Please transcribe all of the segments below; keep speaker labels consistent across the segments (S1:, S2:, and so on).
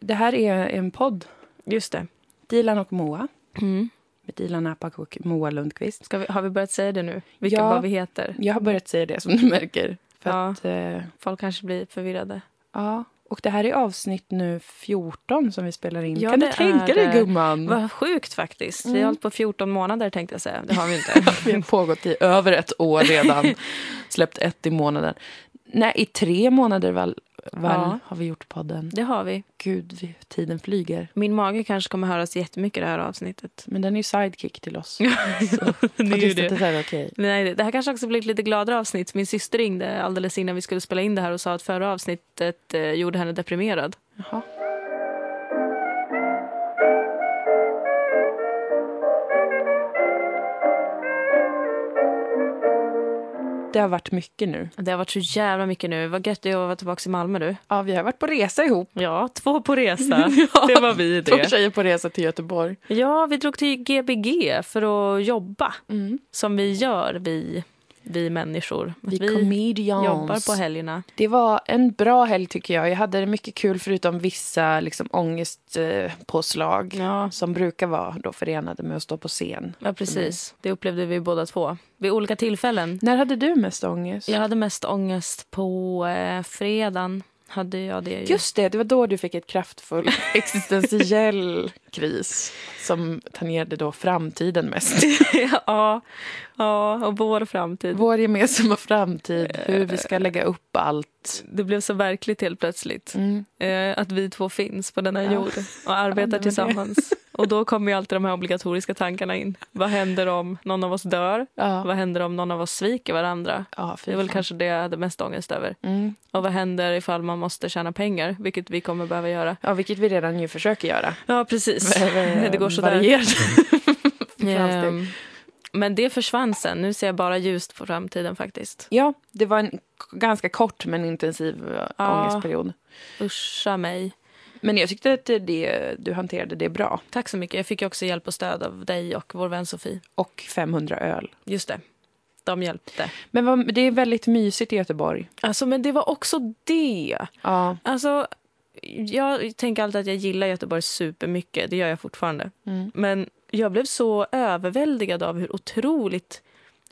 S1: Det här är en podd.
S2: Just det.
S1: Dilan och Moa.
S2: Mm.
S1: Med Dilan Apak och Moa Lundqvist.
S2: Ska vi, har vi börjat säga det nu? Vilka,
S1: Ja.
S2: Vad vi heter?
S1: Jag har börjat säga det som du märker. För
S2: Ja.
S1: att, eh,
S2: Folk kanske blir förvirrade.
S1: ja. Och det här är avsnitt nu 14 som vi spelar in.
S2: Ja,
S1: kan du
S2: det
S1: tänka
S2: är
S1: dig
S2: det.
S1: gumman?
S2: Vad sjukt faktiskt. Vi
S1: Mm.
S2: har hållit på 14 månader tänkte jag säga. Det har vi inte.
S1: Vi har pågått i över ett år redan. Släppt ett i månaden. Nej, i tre månader väl, väl
S2: Ja.
S1: har vi gjort podden.
S2: det har vi.
S1: Gud, vi- tiden flyger.
S2: Min mage kanske kommer höras jättemycket i det här avsnittet.
S1: Men den är ju sidekick till oss.
S2: Det är
S1: Och det.
S2: ju det.
S1: är så här, okej.
S2: Nej, det- det här kanske också blir ett lite gladare avsnitt. Min syster ringde alldeles innan vi skulle spela in det här och sa att förra avsnittet eh, gjorde henne deprimerad.
S1: Jaha. Det har varit mycket nu.
S2: Det har varit så jävla mycket nu. Vad gött det är att vara tillbaka i Malmö du.
S1: Ja, vi har varit på resa ihop.
S2: Ja, två på resa. Det var vi
S1: Två
S2: det.
S1: tjejer på resa till Göteborg.
S2: Ja, vi drog till GBG för att jobba.
S1: Mm.
S2: som vi gör, vi, vi människor. Att
S1: Vi,
S2: vi
S1: comedians.
S2: jobbar på helgerna.
S1: Det var en bra helg tycker jag. Jag hade det mycket kul förutom vissa liksom, ångestpåslag
S2: Ja.
S1: som brukar vara då förenade med att stå på scen.
S2: ja, precis.
S1: Mm.
S2: Det upplevde vi båda två vid olika tillfällen.
S1: När hade du mest ångest?
S2: Jag hade mest ångest på eh, fredagen. Hade jag det ju.
S1: Just det, det var då du fick ett kraftfull existentiell kris som tangerade då framtiden mest.
S2: ja, ja, och vår framtid.
S1: Vår gemensamma framtid, hur vi ska lägga upp allt.
S2: Det blev så verkligt helt plötsligt.
S1: Mm.
S2: Eh, att vi två finns på denna
S1: Ja.
S2: jord och
S1: men
S2: arbetar
S1: det-
S2: tillsammans. Och då kommer ju alltid de här obligatoriska tankarna in. Vad händer om någon av oss dör?
S1: Ja,
S2: Vad händer om någon av oss sviker varandra?
S1: ja
S2: Det är väl kanske det jag hade mest ångest över.
S1: Mm.
S2: Och vad händer ifall man måste tjäna pengar, vilket vi kommer behöva göra?
S1: Ja, vilket vi redan ju försöker göra.
S2: Ja, precis. det går sådär.
S1: Varierade framsteg.
S2: Ehm, Men det försvann sen. Nu ser jag bara ljust på framtiden faktiskt.
S1: Ja, det var en k- ganska kort men intensiv eh,
S2: Ja.
S1: ångestperiod.
S2: Uscha mig.
S1: Men jag tyckte att det- det, du hanterade det bra.
S2: Tack så mycket. Jag fick ju också hjälp och stöd av dig och vår vän Sofie.
S1: Och 500 öl.
S2: Just det. De hjälpte.
S1: Men vad, det är väldigt mysigt i Göteborg.
S2: Alltså, men det var också det.
S1: Ja.
S2: Alltså, jag tänker alltid att jag gillar Göteborg supermycket. Det gör jag fortfarande.
S1: Mm.
S2: Men jag blev så överväldigad av hur otroligt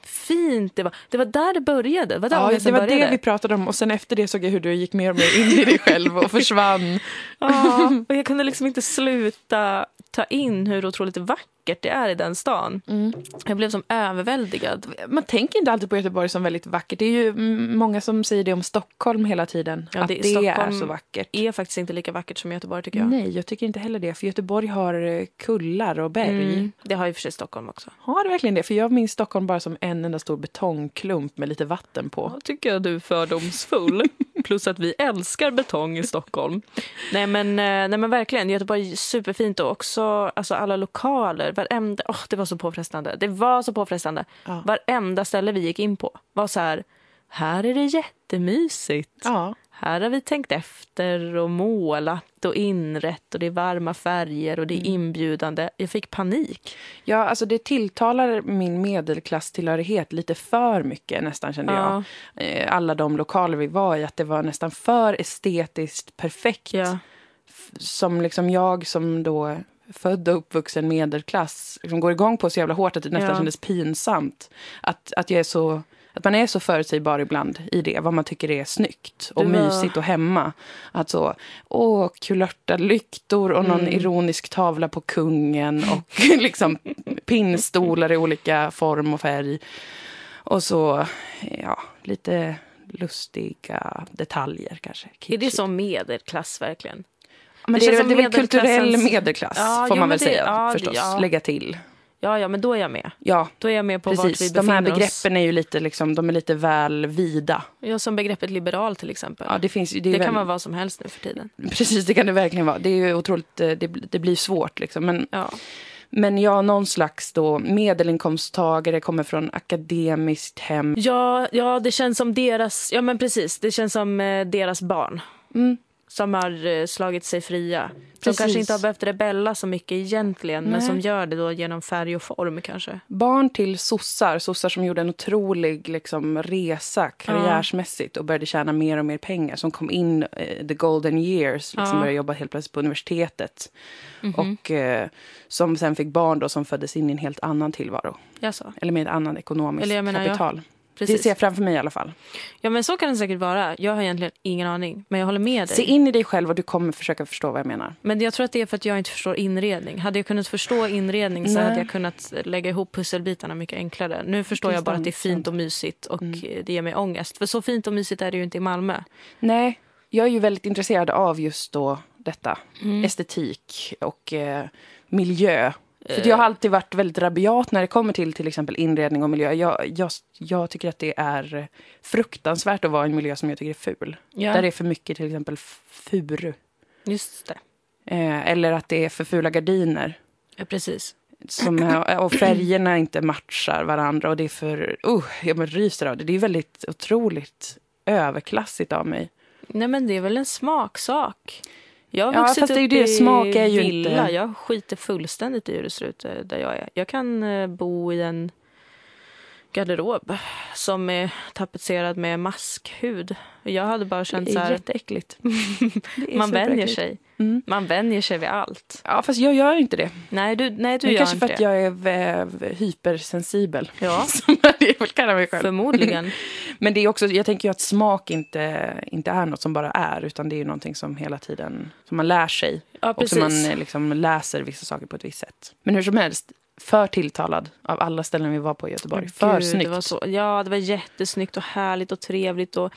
S2: fint det var. Det var där det började. Det var där
S1: Ja, det
S2: ångesten
S1: var
S2: började.
S1: det vi pratade om och sen efter det såg jag hur du gick mer och mer in i dig själv och försvann.
S2: Ja, och jag kunde liksom inte sluta ta in hur otroligt vackert det är i den stan.
S1: Mm.
S2: Jag blev som överväldigad.
S1: Man tänker inte alltid på Göteborg som väldigt vackert. Det är ju mm, många som säger det om Stockholm hela tiden.
S2: Ja,
S1: att
S2: det-
S1: det är
S2: Stockholm-
S1: så vackert.
S2: Det är faktiskt inte lika vackert som Göteborg tycker jag.
S1: Nej, jag tycker inte heller det. För Göteborg har eh, kullar och berg.
S2: Mm. Det har ju för sig Stockholm också.
S1: Har det verkligen det? För jag minns Stockholm bara som en enda stor betongklump med lite vatten på.
S2: Ja, tycker jag du är fördomsfull. Plus att vi älskar betong i Stockholm. nej, men, eh, nej men verkligen, Göteborg är superfint och också alltså alla lokaler. Varenda, åh det var så påfrestande. Det var så påfrestande.
S1: Ja.
S2: Varenda ställe vi gick in på var så här, här är det jättemysigt.
S1: Ja,
S2: Här har vi tänkt efter och målat och inrett och det är varma färger och det är inbjudande. Jag fick panik.
S1: ja alltså det tilltalar min medelklasstillhörighet lite för mycket nästan kände
S2: Ja.
S1: jag. Eh, Alla de lokaler vi var i, att det var nästan för estetiskt perfekt. F- Som liksom jag som då född och uppvuxen medelklass liksom går igång på så jävla hårt att det nästan
S2: Ja.
S1: kändes pinsamt. Att, att, jag är så, att man är så förutsägbar ibland i det, vad man tycker är snyggt och
S2: Du var-
S1: mysigt och hemma. Att så, åh, kulörta lyktor och
S2: Mm.
S1: någon ironisk tavla på kungen och liksom pinnstolar i olika form och färg. Och så, ja, lite lustiga detaljer kanske.
S2: Är det
S1: Kitschigt.
S2: som medelklass verkligen?
S1: Men
S2: Det
S1: det, är,
S2: känns
S1: väl- det är
S2: som
S1: väl kulturell
S2: medelklassens-
S1: medelklass,
S2: Ja,
S1: får
S2: jo,
S1: man väl
S2: men det-
S1: säga
S2: ja, det-
S1: förstås.
S2: ja.
S1: Lägga till.
S2: Ja, ja, men då är jag med.
S1: Ja,
S2: Då är jag med på vart vi
S1: precis. De
S2: befinner
S1: här
S2: oss.
S1: begreppen är ju lite, liksom, de är lite väl vida.
S2: Ja, som begreppet liberal till exempel.
S1: Ja, det, finns, ju- det, är
S2: det
S1: väl,
S2: kan vara vad som helst nu för tiden.
S1: Precis, det kan det verkligen vara. Det är ju otroligt, eh, det, bl- det blir svårt liksom. Men,
S2: Ja.
S1: men ja, någon slags då medelinkomsttagare, kommer från akademiskt hem.
S2: Ja, ja, det känns som deras... Ja, men precis. Det känns som eh, deras barn.
S1: Mm.
S2: som har eh, slagit sig fria. De kanske
S1: Precis.
S2: inte har behövt rebella så mycket egentligen men
S1: Nej.
S2: som gör det då genom färg och form kanske.
S1: barn till sossar, sossar som gjorde en otrolig liksom, resa karriärsmässigt och började tjäna mer och mer pengar, som kom in eh, the golden years, liksom
S2: Ja.
S1: började jobba helt plötsligt på universitetet.
S2: Mhm. Mm.
S1: Och eh, som sen fick barn då som föddes in i en helt annan tillvaro,
S2: Jag sa.
S1: eller med ett annat ekonomiskt
S2: Eller jag menar, ja.
S1: kapital. Det
S2: Precis.
S1: ser jag framför mig i alla fall.
S2: Ja men så kan det säkert vara. Jag har egentligen ingen aning men jag håller med
S1: Se
S2: dig.
S1: in i dig själv och du kommer försöka förstå vad jag menar.
S2: Men jag tror att det är för att jag inte förstår inredning. Hade jag kunnat förstå inredning så
S1: Nej.
S2: hade jag kunnat eh, lägga ihop pusselbitarna mycket enklare. Nu förstår
S1: Det är
S2: jag bara att
S1: sant, Mm.
S2: det är fint och mysigt och eh, det ger mig ångest. För så fint och mysigt är det ju inte i Malmö.
S1: Nej, jag är ju väldigt intresserad av just då detta.
S2: Mm.
S1: Estetik och eh, miljö. För
S2: Eh.
S1: jag har alltid varit väldigt rabiat när det kommer till till exempel inredning och miljö. Jag, jag, jag tycker att det är fruktansvärt att vara i en miljö som jag tycker är ful.
S2: Ja.
S1: Där det är för mycket till exempel f- furu.
S2: Just det.
S1: Eh, eller att det är för fula gardiner.
S2: Ja, precis.
S1: Som, är- och färgerna inte matchar varandra. Och det är för... Uh, jag men ryser av det. Det är väldigt otroligt överklassigt av mig.
S2: Nej men det är väl en smaksak. Jag har
S1: Ja,
S2: vuxit
S1: fast det är ju
S2: upp
S1: det.
S2: i
S1: Smak är ju
S2: villa.
S1: inte-
S2: Jag skiter fullständigt i hur det ser ut eh, där jag är. Jag kan eh, bo i en garderob som är tapetserad med maskhud. Jag hade bara känt så
S1: Det är
S2: här,
S1: jätteäckligt. Det är
S2: man vänjer
S1: superäckligt.
S2: sig.
S1: Mm.
S2: Man vänjer sig vid allt.
S1: Ja, fast jag gör inte det.
S2: Nej, du, nej, du
S1: det är
S2: gör
S1: kanske
S2: inte
S1: för att
S2: det.
S1: jag är väv, hypersensibel.
S2: Ja,
S1: Som jag vill kalla mig själv.
S2: förmodligen.
S1: Men det är också, jag tänker ju att smak inte, inte är något som bara är, utan det är ju någonting som hela tiden, som man lär sig.
S2: Ja,
S1: Och som man
S2: precis.
S1: eh, liksom läser vissa saker på ett visst sätt. Men hur som helst, för tilltalad av alla ställen vi var på i Göteborg. för
S2: Gud,
S1: snyggt.
S2: Det var så, ja, det var jättesnyggt och härligt och trevligt. Och,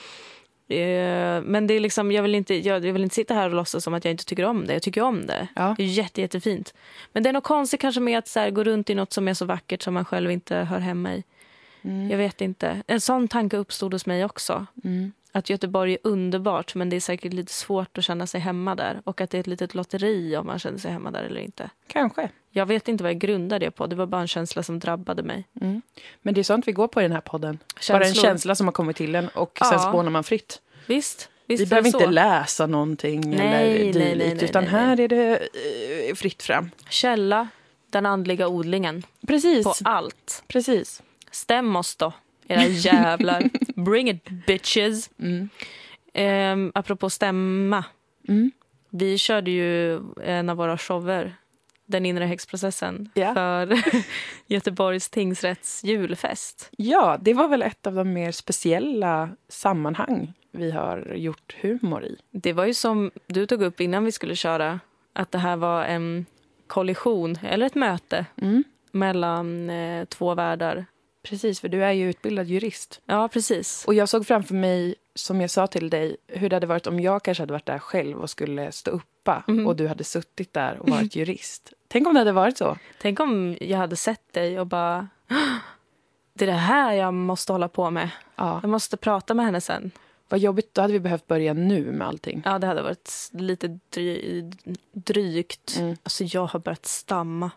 S2: eh, men det är liksom, jag, vill inte, jag, jag vill inte sitta här och låtsas som att jag inte tycker om det. Jag tycker om det.
S1: Ja.
S2: Det är jätte, jättefint. Men det är något konstigt kanske med att så här, gå runt i något som är så vackert som man själv inte hör hemma i.
S1: Mm.
S2: Jag vet inte. En sån tanke uppstod hos mig också. Att Göteborg är underbart, men det är säkert lite svårt att känna sig hemma där. Och att det är ett litet lotteri om man känner sig hemma där eller inte.
S1: Kanske.
S2: Jag vet inte vad jag grundar det på. Det var bara en känsla som drabbade mig.
S1: Men det är sånt vi går på i den här podden. Bara en
S2: Känslor.
S1: känsla som har kommit till en och sen
S2: Ja.
S1: spånar man fritt.
S2: Visst, visst
S1: Vi
S2: är
S1: behöver
S2: det
S1: inte
S2: så.
S1: läsa någonting
S2: nej, nej,
S1: eller dylikt,
S2: nej,
S1: utan
S2: nej,
S1: här är det eh, fritt fram.
S2: Källa, den andliga odlingen.
S1: Precis,
S2: På allt.
S1: precis.
S2: Stäm oss då, era jävlar. Bring it, bitches.
S1: Mm.
S2: Um, apropå stämma.
S1: Mm.
S2: Vi körde ju en av våra shower, Den inre häxprocessen,
S1: Ja.
S2: för Göteborgs tingsrätts julfest.
S1: Ja, det var väl ett av de mer speciella sammanhang vi har gjort humor i.
S2: Det var ju som du tog upp innan vi skulle köra, att det här var en kollision, eller ett möte,
S1: Mm.
S2: mellan eh, två världar.
S1: Precis, för du är ju utbildad jurist.
S2: Ja, precis.
S1: Och jag såg framför mig, som jag sa till dig, hur det hade varit om jag kanske hade varit där själv och skulle stå uppa
S2: Mm.
S1: och du hade suttit där och varit jurist. Tänk om det hade varit så.
S2: Tänk om jag hade sett dig och bara... "Åh, Det är det här jag måste hålla på med.
S1: Ja,
S2: Jag måste prata med henne sen.
S1: vad jobbigt, då hade vi behövt börja nu med allting.
S2: Ja, det hade varit lite dry, drygt.
S1: Mm.
S2: Alltså, jag har börjat stamma.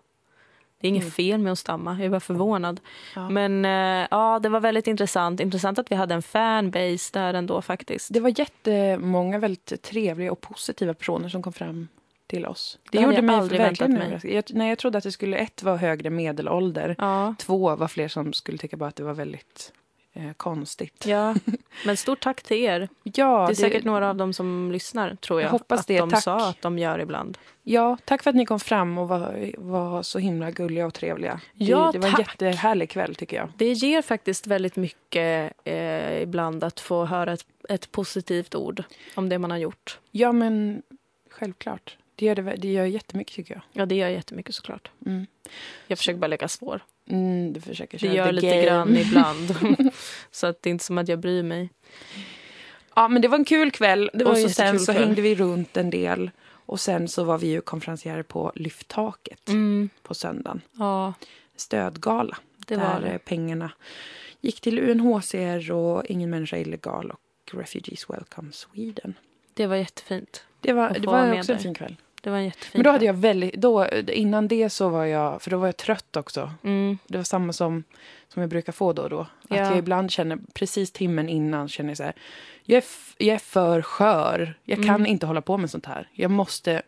S2: Det är inget fel med att stamma, jag är bara förvånad.
S1: Ja.
S2: Men eh, ja, det var väldigt intressant. Intressant att vi hade en fanbase där ändå faktiskt.
S1: Det var jättemånga väldigt trevliga och positiva personer som kom fram till oss. Det,
S2: hade
S1: gjorde
S2: jag
S1: mig
S2: aldrig
S1: verkligen
S2: väntat mig.
S1: överraskad. Jag, nej, jag trodde att det skulle ett vara högre medelålder.
S2: Ja.
S1: Två var fler som skulle tycka bara att det var väldigt eh, konstigt.
S2: ja. Men stort tack till er.
S1: Ja,
S2: det är säkert några av dem som lyssnar, tror jag.
S1: Jag hoppas
S2: att
S1: det.
S2: de
S1: Tack.
S2: sa att de gör ibland.
S1: ja, tack för att ni kom fram och var, var så himla gulliga och trevliga.
S2: Ja,
S1: det, det var en
S2: tack.
S1: jättehärlig kväll tycker jag.
S2: Det ger faktiskt väldigt mycket eh, ibland att få höra ett, ett positivt ord om det man har gjort.
S1: Ja, men självklart. Det gör, det, vä- det gör jättemycket tycker jag.
S2: Ja, det gör jättemycket såklart.
S1: Mm.
S2: Jag försöker bara lägga svår.
S1: Mm, du försöker
S2: Det
S1: köra
S2: gör
S1: the
S2: lite
S1: game.
S2: grann ibland. så att det är inte som att jag bryr mig.
S1: Ja, men det var en kul kväll.
S2: var
S1: och
S2: en
S1: så
S2: jättekul
S1: sen så
S2: kväll.
S1: hängde vi runt en del. Och sen så var vi ju konferencierer på Lyfttaket
S2: Mm.
S1: på söndagen.
S2: Ja,
S1: Stödgala.
S2: det
S1: där
S2: var
S1: eh,
S2: det.
S1: pengarna gick till UNHCR och Ingen människa är illegal och Refugees Welcome Sweden.
S2: Det var jättefint.
S1: Det var,
S2: Och
S1: det
S2: få vara
S1: var
S2: med
S1: också en
S2: där.
S1: fin kväll.
S2: det var en jättefin.
S1: Men då hade jag väldigt, då, innan det så var jag, för då var jag trött också.
S2: Mm.
S1: Det var samma som, som jag brukar få då och då. Att
S2: Ja.
S1: jag ibland känner, precis timmen innan känner jag så här, jag är, f- jag är för skör. Jag
S2: Mm.
S1: kan inte hålla på med sånt här. Jag måste,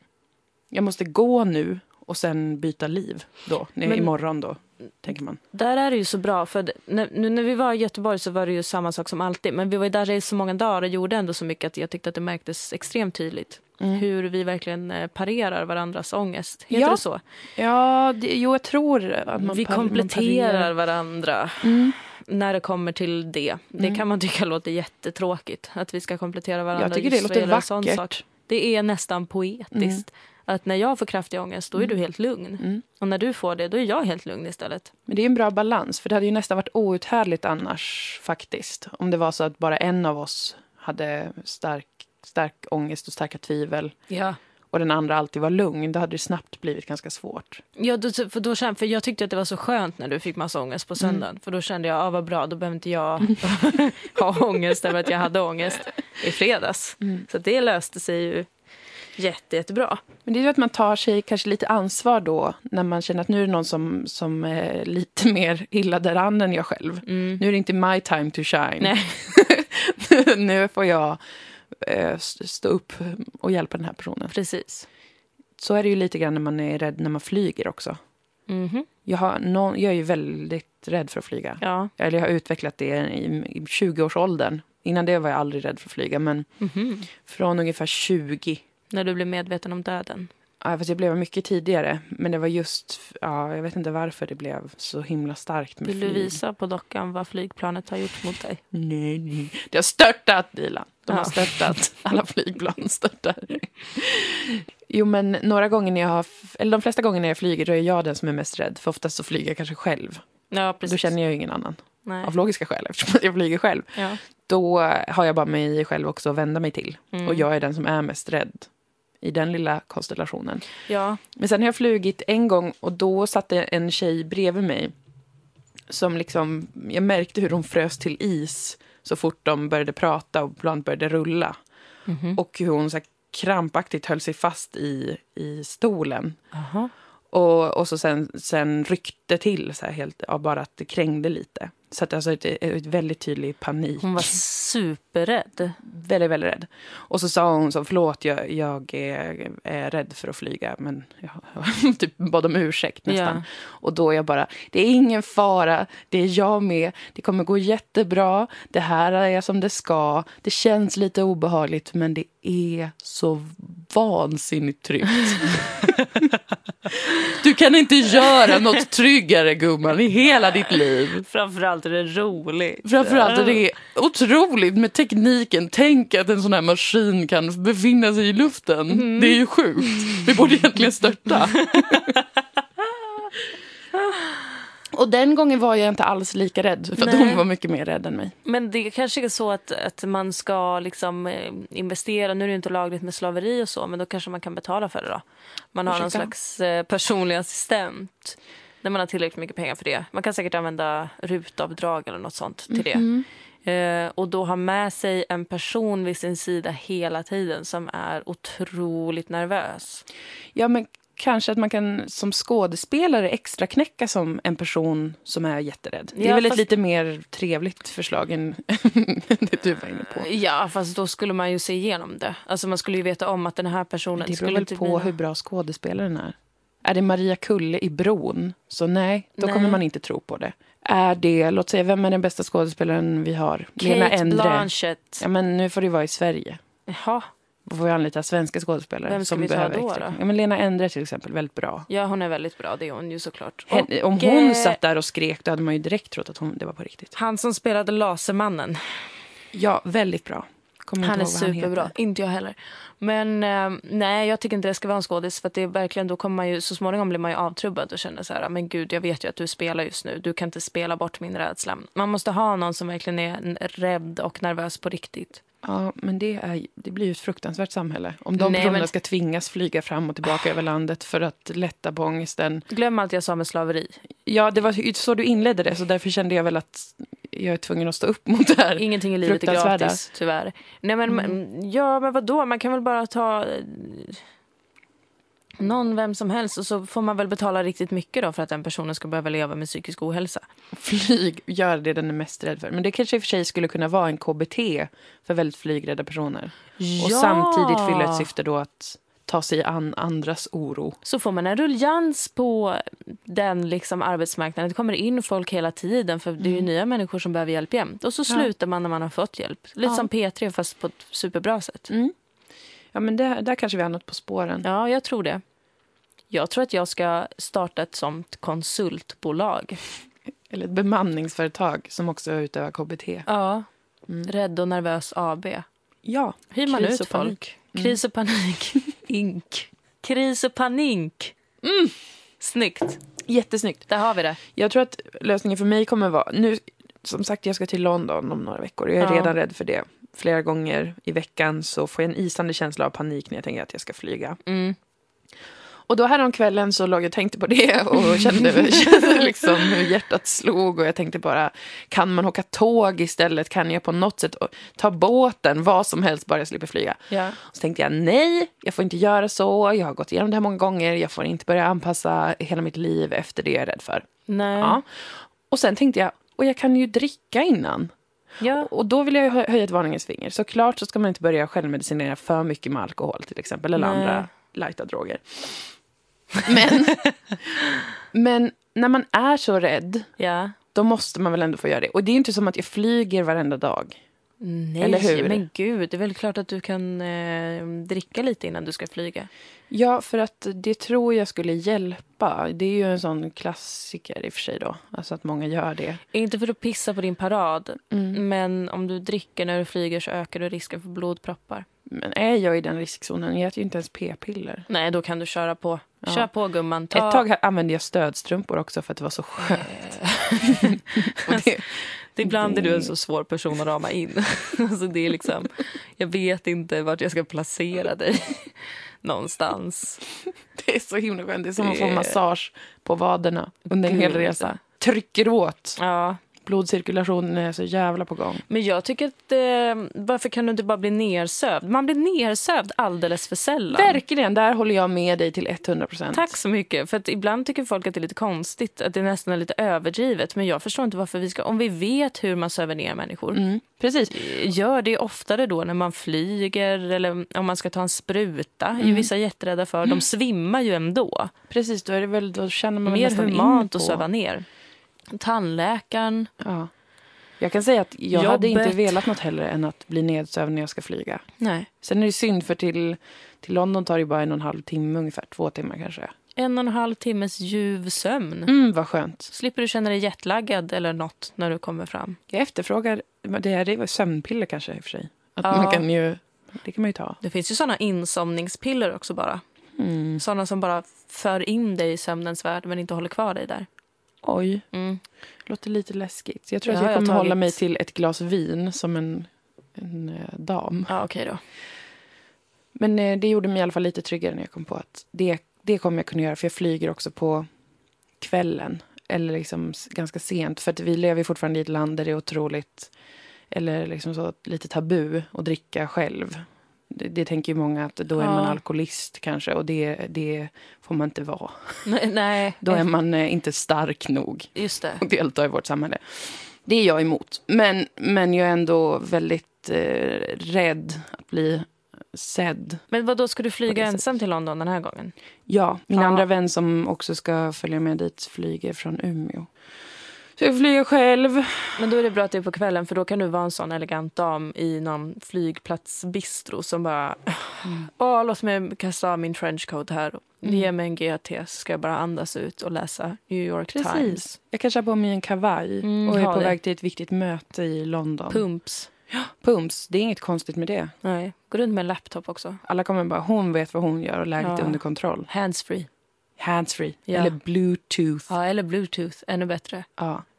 S1: jag måste gå nu och sen byta liv då, när,
S2: Men-
S1: imorgon då, tänker man.
S2: Där är det ju så bra, för det- när, nu när vi var i Göteborg så var det ju samma sak som alltid. Men vi var ju där i så många dagar och gjorde ändå så mycket att jag tyckte att det märktes extremt tydligt.
S1: Mm.
S2: Hur vi verkligen eh, parerar varandras ångest. Heter
S1: Ja.
S2: det så?
S1: Ja, det, jo jag tror att man
S2: vi
S1: par- man
S2: kompletterar
S1: parerar.
S2: varandra
S1: Mm.
S2: när det kommer till det. Det kan man tycka låter jättetråkigt, att vi ska komplettera varandra.
S1: Jag tycker
S2: just
S1: det
S2: vad
S1: låter
S2: gäller en sån
S1: vackert. Mm.
S2: sak. Det är nästan poetiskt. Att när jag får kraftig ångest, då är du helt lugn. Och när du får det, då är jag helt lugn istället.
S1: Men det är en bra balans, för det hade ju nästan varit outhärdligt annars faktiskt. Om det var så att bara en av oss hade stark, stark ångest och starka tvivel
S2: Ja.
S1: och den andra alltid var lugn, då hade det snabbt blivit ganska svårt.
S2: Ja, då, för, då kände, för jag tyckte att det var så skönt när du fick massa ångest på söndagen.
S1: Mm.
S2: För då kände jag, ah, vad bra, då behöver inte jag ha ångest över att jag hade ångest i fredags.
S1: Mm.
S2: Så det löste sig ju jätte, jättebra.
S1: Men det är ju att man tar sig kanske lite ansvar då när man känner att nu är det någon som, som är lite mer illa däran än jag själv. Nu är det inte my time to shine.
S2: Nej.
S1: nu får jag eh, st- stå upp och hjälpa den här personen.
S2: Precis.
S1: Så är det ju lite grann när man är rädd när man flyger också.
S2: Mhm.
S1: Jag, har någon, jag är ju väldigt rädd för att flyga.
S2: Ja.
S1: Eller jag har utvecklat det i, i 20-årsåldern. Innan det var jag aldrig rädd för att flyga, men
S2: Mhm.
S1: från ungefär 20.
S2: När du blev medveten om döden.
S1: Ja, fast jag blev mycket tidigare, men det var just... Ja, jag vet inte varför det blev så himla starkt med
S2: Vill du
S1: flyg.
S2: visa på dockan vad flygplanet har gjort mot dig?
S1: Nej, nej. Det har störtat, Dilan. De har
S2: Ja.
S1: störtat. Alla flygplan störtar. Jo, men några gånger när jag har... Eller de flesta gånger när jag flyger, då är jag den som är mest rädd. För oftast så flyger jag kanske själv.
S2: Ja, precis.
S1: Då känner jag ju ingen annan.
S2: Nej.
S1: Av logiska skäl, eftersom jag flyger själv.
S2: Ja.
S1: då har jag bara mig själv också att vända mig till.
S2: Mm.
S1: Och jag är den som är mest rädd i den lilla konstellationen.
S2: ja.
S1: Men sen har jag flugit en gång och då satt det en tjej bredvid mig som liksom, jag märkte hur hon frös till is så fort de började prata och ibland började rulla.
S2: Mm. Mhm.
S1: Och hur hon så här krampaktigt höll sig fast i, i stolen.
S2: Aha.
S1: Och, och så sen, sen ryckte till så här helt, av bara att det krängde lite. Så att alltså ett, ett väldigt tydlig panik
S2: Hon var superrädd.
S1: väldigt, väldigt rädd. Och så sa hon så, förlåt, jag, jag är, är rädd för att flyga, men jag typ bad om ursäkt nästan.
S2: Ja.
S1: Och då jag bara, det är ingen fara, det är jag med, det kommer gå jättebra, det här är som det ska, det känns lite obehagligt, men det är så vansinnigt tryggt. du kan inte göra något tryggare, gumman, i hela ditt liv.
S2: Framförallt är det roligt.
S1: Framförallt är det otroligt med tekniken. Tänk att en sån här maskin kan befinna sig i luften. Det är ju sjukt. Vi borde egentligen störta. Och den gången var jag inte alls lika rädd, för att
S2: Nej.
S1: hon var mycket mer rädd än mig.
S2: Men det kanske är så att, att man ska liksom eh, investera. Nu är det ju inte lagligt med slaveri och så, men då kanske man kan betala för det då. Man har någon
S1: Ursäkta?
S2: slags eh, personlig assistent. När man har tillräckligt mycket pengar för det. Man kan säkert använda rutavdrag eller något sånt till det. Eh, och då ha med sig en person vid sin sida hela tiden som är otroligt nervös.
S1: Ja, men kanske att man kan som skådespelare extra knäcka som en person som är jätterädd. Det är
S2: Ja,
S1: väl ett
S2: fast-
S1: lite mer trevligt förslag än det du var inne på.
S2: Ja, fast då skulle man ju se igenom det. Alltså man skulle ju veta om att den här personen...
S1: Det beror
S2: skulle
S1: väl
S2: inte
S1: på
S2: bli-
S1: hur bra skådespelaren är. Är det Maria Kulle i Bron, så nej, då
S2: Nej.
S1: kommer man inte tro på det. Är det, låt säga, vem är den bästa skådespelaren vi har? Lena
S2: Kate
S1: Endre.
S2: Blanchett.
S1: Ja, men nu får det vara i Sverige.
S2: Jaha.
S1: Då får vi anlita svenska skådespelare.
S2: Vem ska
S1: som
S2: vi ta
S1: behöver
S2: då,
S1: extra-
S2: då?
S1: Ja, men Lena Endre till exempel, väldigt bra.
S2: Ja, hon är väldigt bra. Det är hon ju såklart.
S1: Hen- Om
S2: Och,
S1: hon
S2: eh,
S1: satt där och skrek, då hade man ju direkt trott att hon, det var på riktigt.
S2: Han som spelade Lasermannen.
S1: Ja, väldigt bra. Kommer
S2: Han
S1: inte
S2: är
S1: ihåg vad han
S2: superbra.
S1: heter.
S2: inte jag heller. Men eh, nej, jag tycker inte det ska vara en skådis. För att det är verkligen, då kommer man ju, så småningom blir man ju avtrubbad och känner så här, men gud, jag vet ju att du spelar just nu. Du kan inte spela bort min rädsla. Man måste ha någon som verkligen är n- rädd och nervös på riktigt.
S1: Ja, men det, är, ju- det blir ju ett fruktansvärt samhälle. Om de
S2: Nej,
S1: personerna
S2: men-
S1: ska tvingas flyga fram och tillbaka över landet för att lätta på ångesten.
S2: Glöm allt jag sa med slaveri.
S1: Ja, det var ju så du inledde det, så därför kände jag väl att jag är tvungen att stå upp mot det här.
S2: Ingenting i livet är
S1: fruktansvärda. Mm.
S2: gratis, tyvärr. Nej, men, men- Ja, men vadå? Man kan väl bara ta... eh, Någon, vem som helst. Och så får man väl betala riktigt mycket då för att den personen ska behöva leva med psykisk ohälsa.
S1: Flyg, gör det den är mest rädd för. Men det kanske i och för sig skulle kunna vara en KBT för väldigt flygrädda personer. Och samtidigt fylla ett syfte då att ta sig an andras oro.
S2: Så får man en rulljans på den liksom arbetsmarknaden. Det kommer in folk hela tiden för det är ju
S1: Mm.
S2: nya människor som behöver hjälp jämt. Och så slutar man när man har fått hjälp. Lite
S1: Ja.
S2: som P3 fast på ett superbra sätt.
S1: Ja, men det, där kanske vi har något på spåren.
S2: Mm. Ja, jag tror det. Jag tror att jag ska starta ett sånt konsultbolag.
S1: Eller ett bemanningsföretag som också utövar KBT.
S2: Ja. Rädd och nervös AB.
S1: Ja,
S2: Mm. Hyr man
S1: Kris
S2: ut
S1: och Mm.
S2: folk?
S1: panik.
S2: Kris och panik. Ink. Kris och panik. Mm. Snyggt.
S1: jättesnyggt.
S2: Där har vi det.
S1: Jag tror att lösningen för mig kommer vara... Nu, som sagt, jag ska till London om några veckor. Jag är
S2: Ja.
S1: redan rädd för det. Flera gånger i veckan så får jag en isande känsla av panik när jag tänker att jag ska flyga.
S2: Mm.
S1: Och då häromkvällen så låg jag och tänkte på det och kände, kände liksom hur hjärtat slog och jag tänkte bara, kan man åka tåg istället? Kan jag på något sätt ta båten, vad som helst, bara jag slipper flyga?
S2: Ja.
S1: Och så tänkte jag nej, jag får inte göra så, jag har gått igenom det här många gånger, jag får inte börja anpassa hela mitt liv efter det jag är rädd för.
S2: Nej.
S1: Ja. Och sen tänkte jag, och jag kan ju dricka innan.
S2: Ja.
S1: Och då vill jag ju hö- höja ett varningens finger. Såklart så ska man inte börja självmedicinera för mycket med alkohol till exempel, eller
S2: Nej.
S1: andra lighta droger. Men, men när man är så rädd,
S2: ja.
S1: då måste man väl ändå få göra det. Och det är ju inte som att jag flyger varenda dag.
S2: Nej,
S1: Eller hur?
S2: men gud. Det är väl klart att du kan eh, dricka lite innan du ska flyga.
S1: Ja, för att det tror jag skulle hjälpa. Det är ju en sån klassiker i och för sig då, alltså att många gör det.
S2: Inte för att pissa på din parad, men om du dricker när du flyger så ökar du risken för blodproppar.
S1: Men är jag i den riskzonen, jag äter ju inte ens p-piller.
S2: Nej, då kan du köra på. Kör på, gumman. Ta...
S1: Ett tag här använde jag stödstrumpor också för att det var så skönt. Eh. Och det,
S2: Det är ibland är du en så svår person att rama in. alltså det är liksom, jag vet inte vart jag ska placera dig någonstans.
S1: Det är så himla skönt. Det är som att få
S2: Det-
S1: massage på vaderna under en hel
S2: Gud.
S1: resa. Trycker åt.
S2: Ja.
S1: Blodcirkulationen är så jävla på gång.
S2: Men jag tycker att... Eh, varför kan du inte bara bli nersövd? Man blir nersövd alldeles för sällan.
S1: Verkligen, där håller jag med dig till 100 procent.
S2: Tack så mycket. För att ibland tycker folk att det är lite konstigt, att det nästan är lite överdrivet. Men jag förstår inte varför vi ska... Om vi vet hur man söver ner människor, eh,
S1: Mm, precis.
S2: gör det oftare då när man flyger eller om man ska ta en spruta. är ju vissa jätterädda för. De svimmar ju ändå.
S1: Precis, då, är det väl, då känner man väl
S2: Mer
S1: nästan in
S2: humant
S1: på-
S2: att söva ner. Tandläkaren.
S1: Ja. Jag kan säga att jag hade
S2: Jobbet.
S1: inte velat något hellre än att bli nedsövd när jag ska flyga.
S2: Nej.
S1: Sen är det synd, för till, till London tar det ju bara en och en halv timme ungefär. Två timmar kanske.
S2: En och en halv timmes ljuv sömn.
S1: Mm, vad skönt.
S2: Slipper du känna dig jetlaggad eller något när du kommer fram.
S1: Jag efterfrågar, det här är väl sömnpiller kanske i och för sig. Att
S2: Ja.
S1: man kan ju, det kan man ju ta.
S2: Det finns ju såna insomningspiller också bara.
S1: Mm.
S2: Såna som bara för in dig i sömnens värld men inte håller kvar dig där.
S1: Oj.
S2: Mm.
S1: Låter lite läskigt. Jag tror
S2: Det
S1: att
S2: har
S1: jag
S2: jag
S1: kommer hålla
S2: tagit.
S1: mig till ett glas vin som en, en eh, dam.
S2: Ja, okej då.
S1: Men eh, det gjorde mig i alla fall lite tryggare när jag kom på att det, det kommer jag kunna göra för jag flyger också på kvällen eller liksom s- ganska sent för att vi lever ju fortfarande i ett land där det är otroligt eller liksom så lite tabu att dricka själv. Det, det tänker ju många att då är man
S2: Ja.
S1: alkoholist kanske och det, det får man inte vara.
S2: Nej, nej.
S1: Då är man eh, inte stark nog.
S2: Just det.
S1: och delta i vårt samhälle. Det är jag emot. Men, men jag är ändå väldigt eh, rädd att bli sedd.
S2: Men vad då ska du
S1: På det
S2: flyga
S1: sättet.
S2: ensam till London den här gången?
S1: Ja, min
S2: Ja.
S1: andra vän som också ska följa med dit flyger från Umeå. Så jag flyger själv.
S2: Men då är det bra att det är på kvällen för då kan du vara en sån elegant dam i någon flygplatsbistro som bara Åh, låt mig kasta av min trenchcoat här. Ge mig en GT så ska jag bara andas ut och läsa New York Times.
S1: Jag kanske har på mig en kavaj
S2: Mm,
S1: och är
S2: ha
S1: på
S2: det.
S1: väg till ett viktigt möte i London.
S2: Pumps.
S1: Pumps, det är inget konstigt med det.
S2: Nej, gå runt med en laptop också.
S1: Alla kommer bara, hon vet vad hon gör och läget
S2: Ja.
S1: är under kontroll.
S2: Handsfree.
S1: Handsfree,
S2: Ja.
S1: eller bluetooth. Ja.
S2: Ja, eller bluetooth, ännu bättre.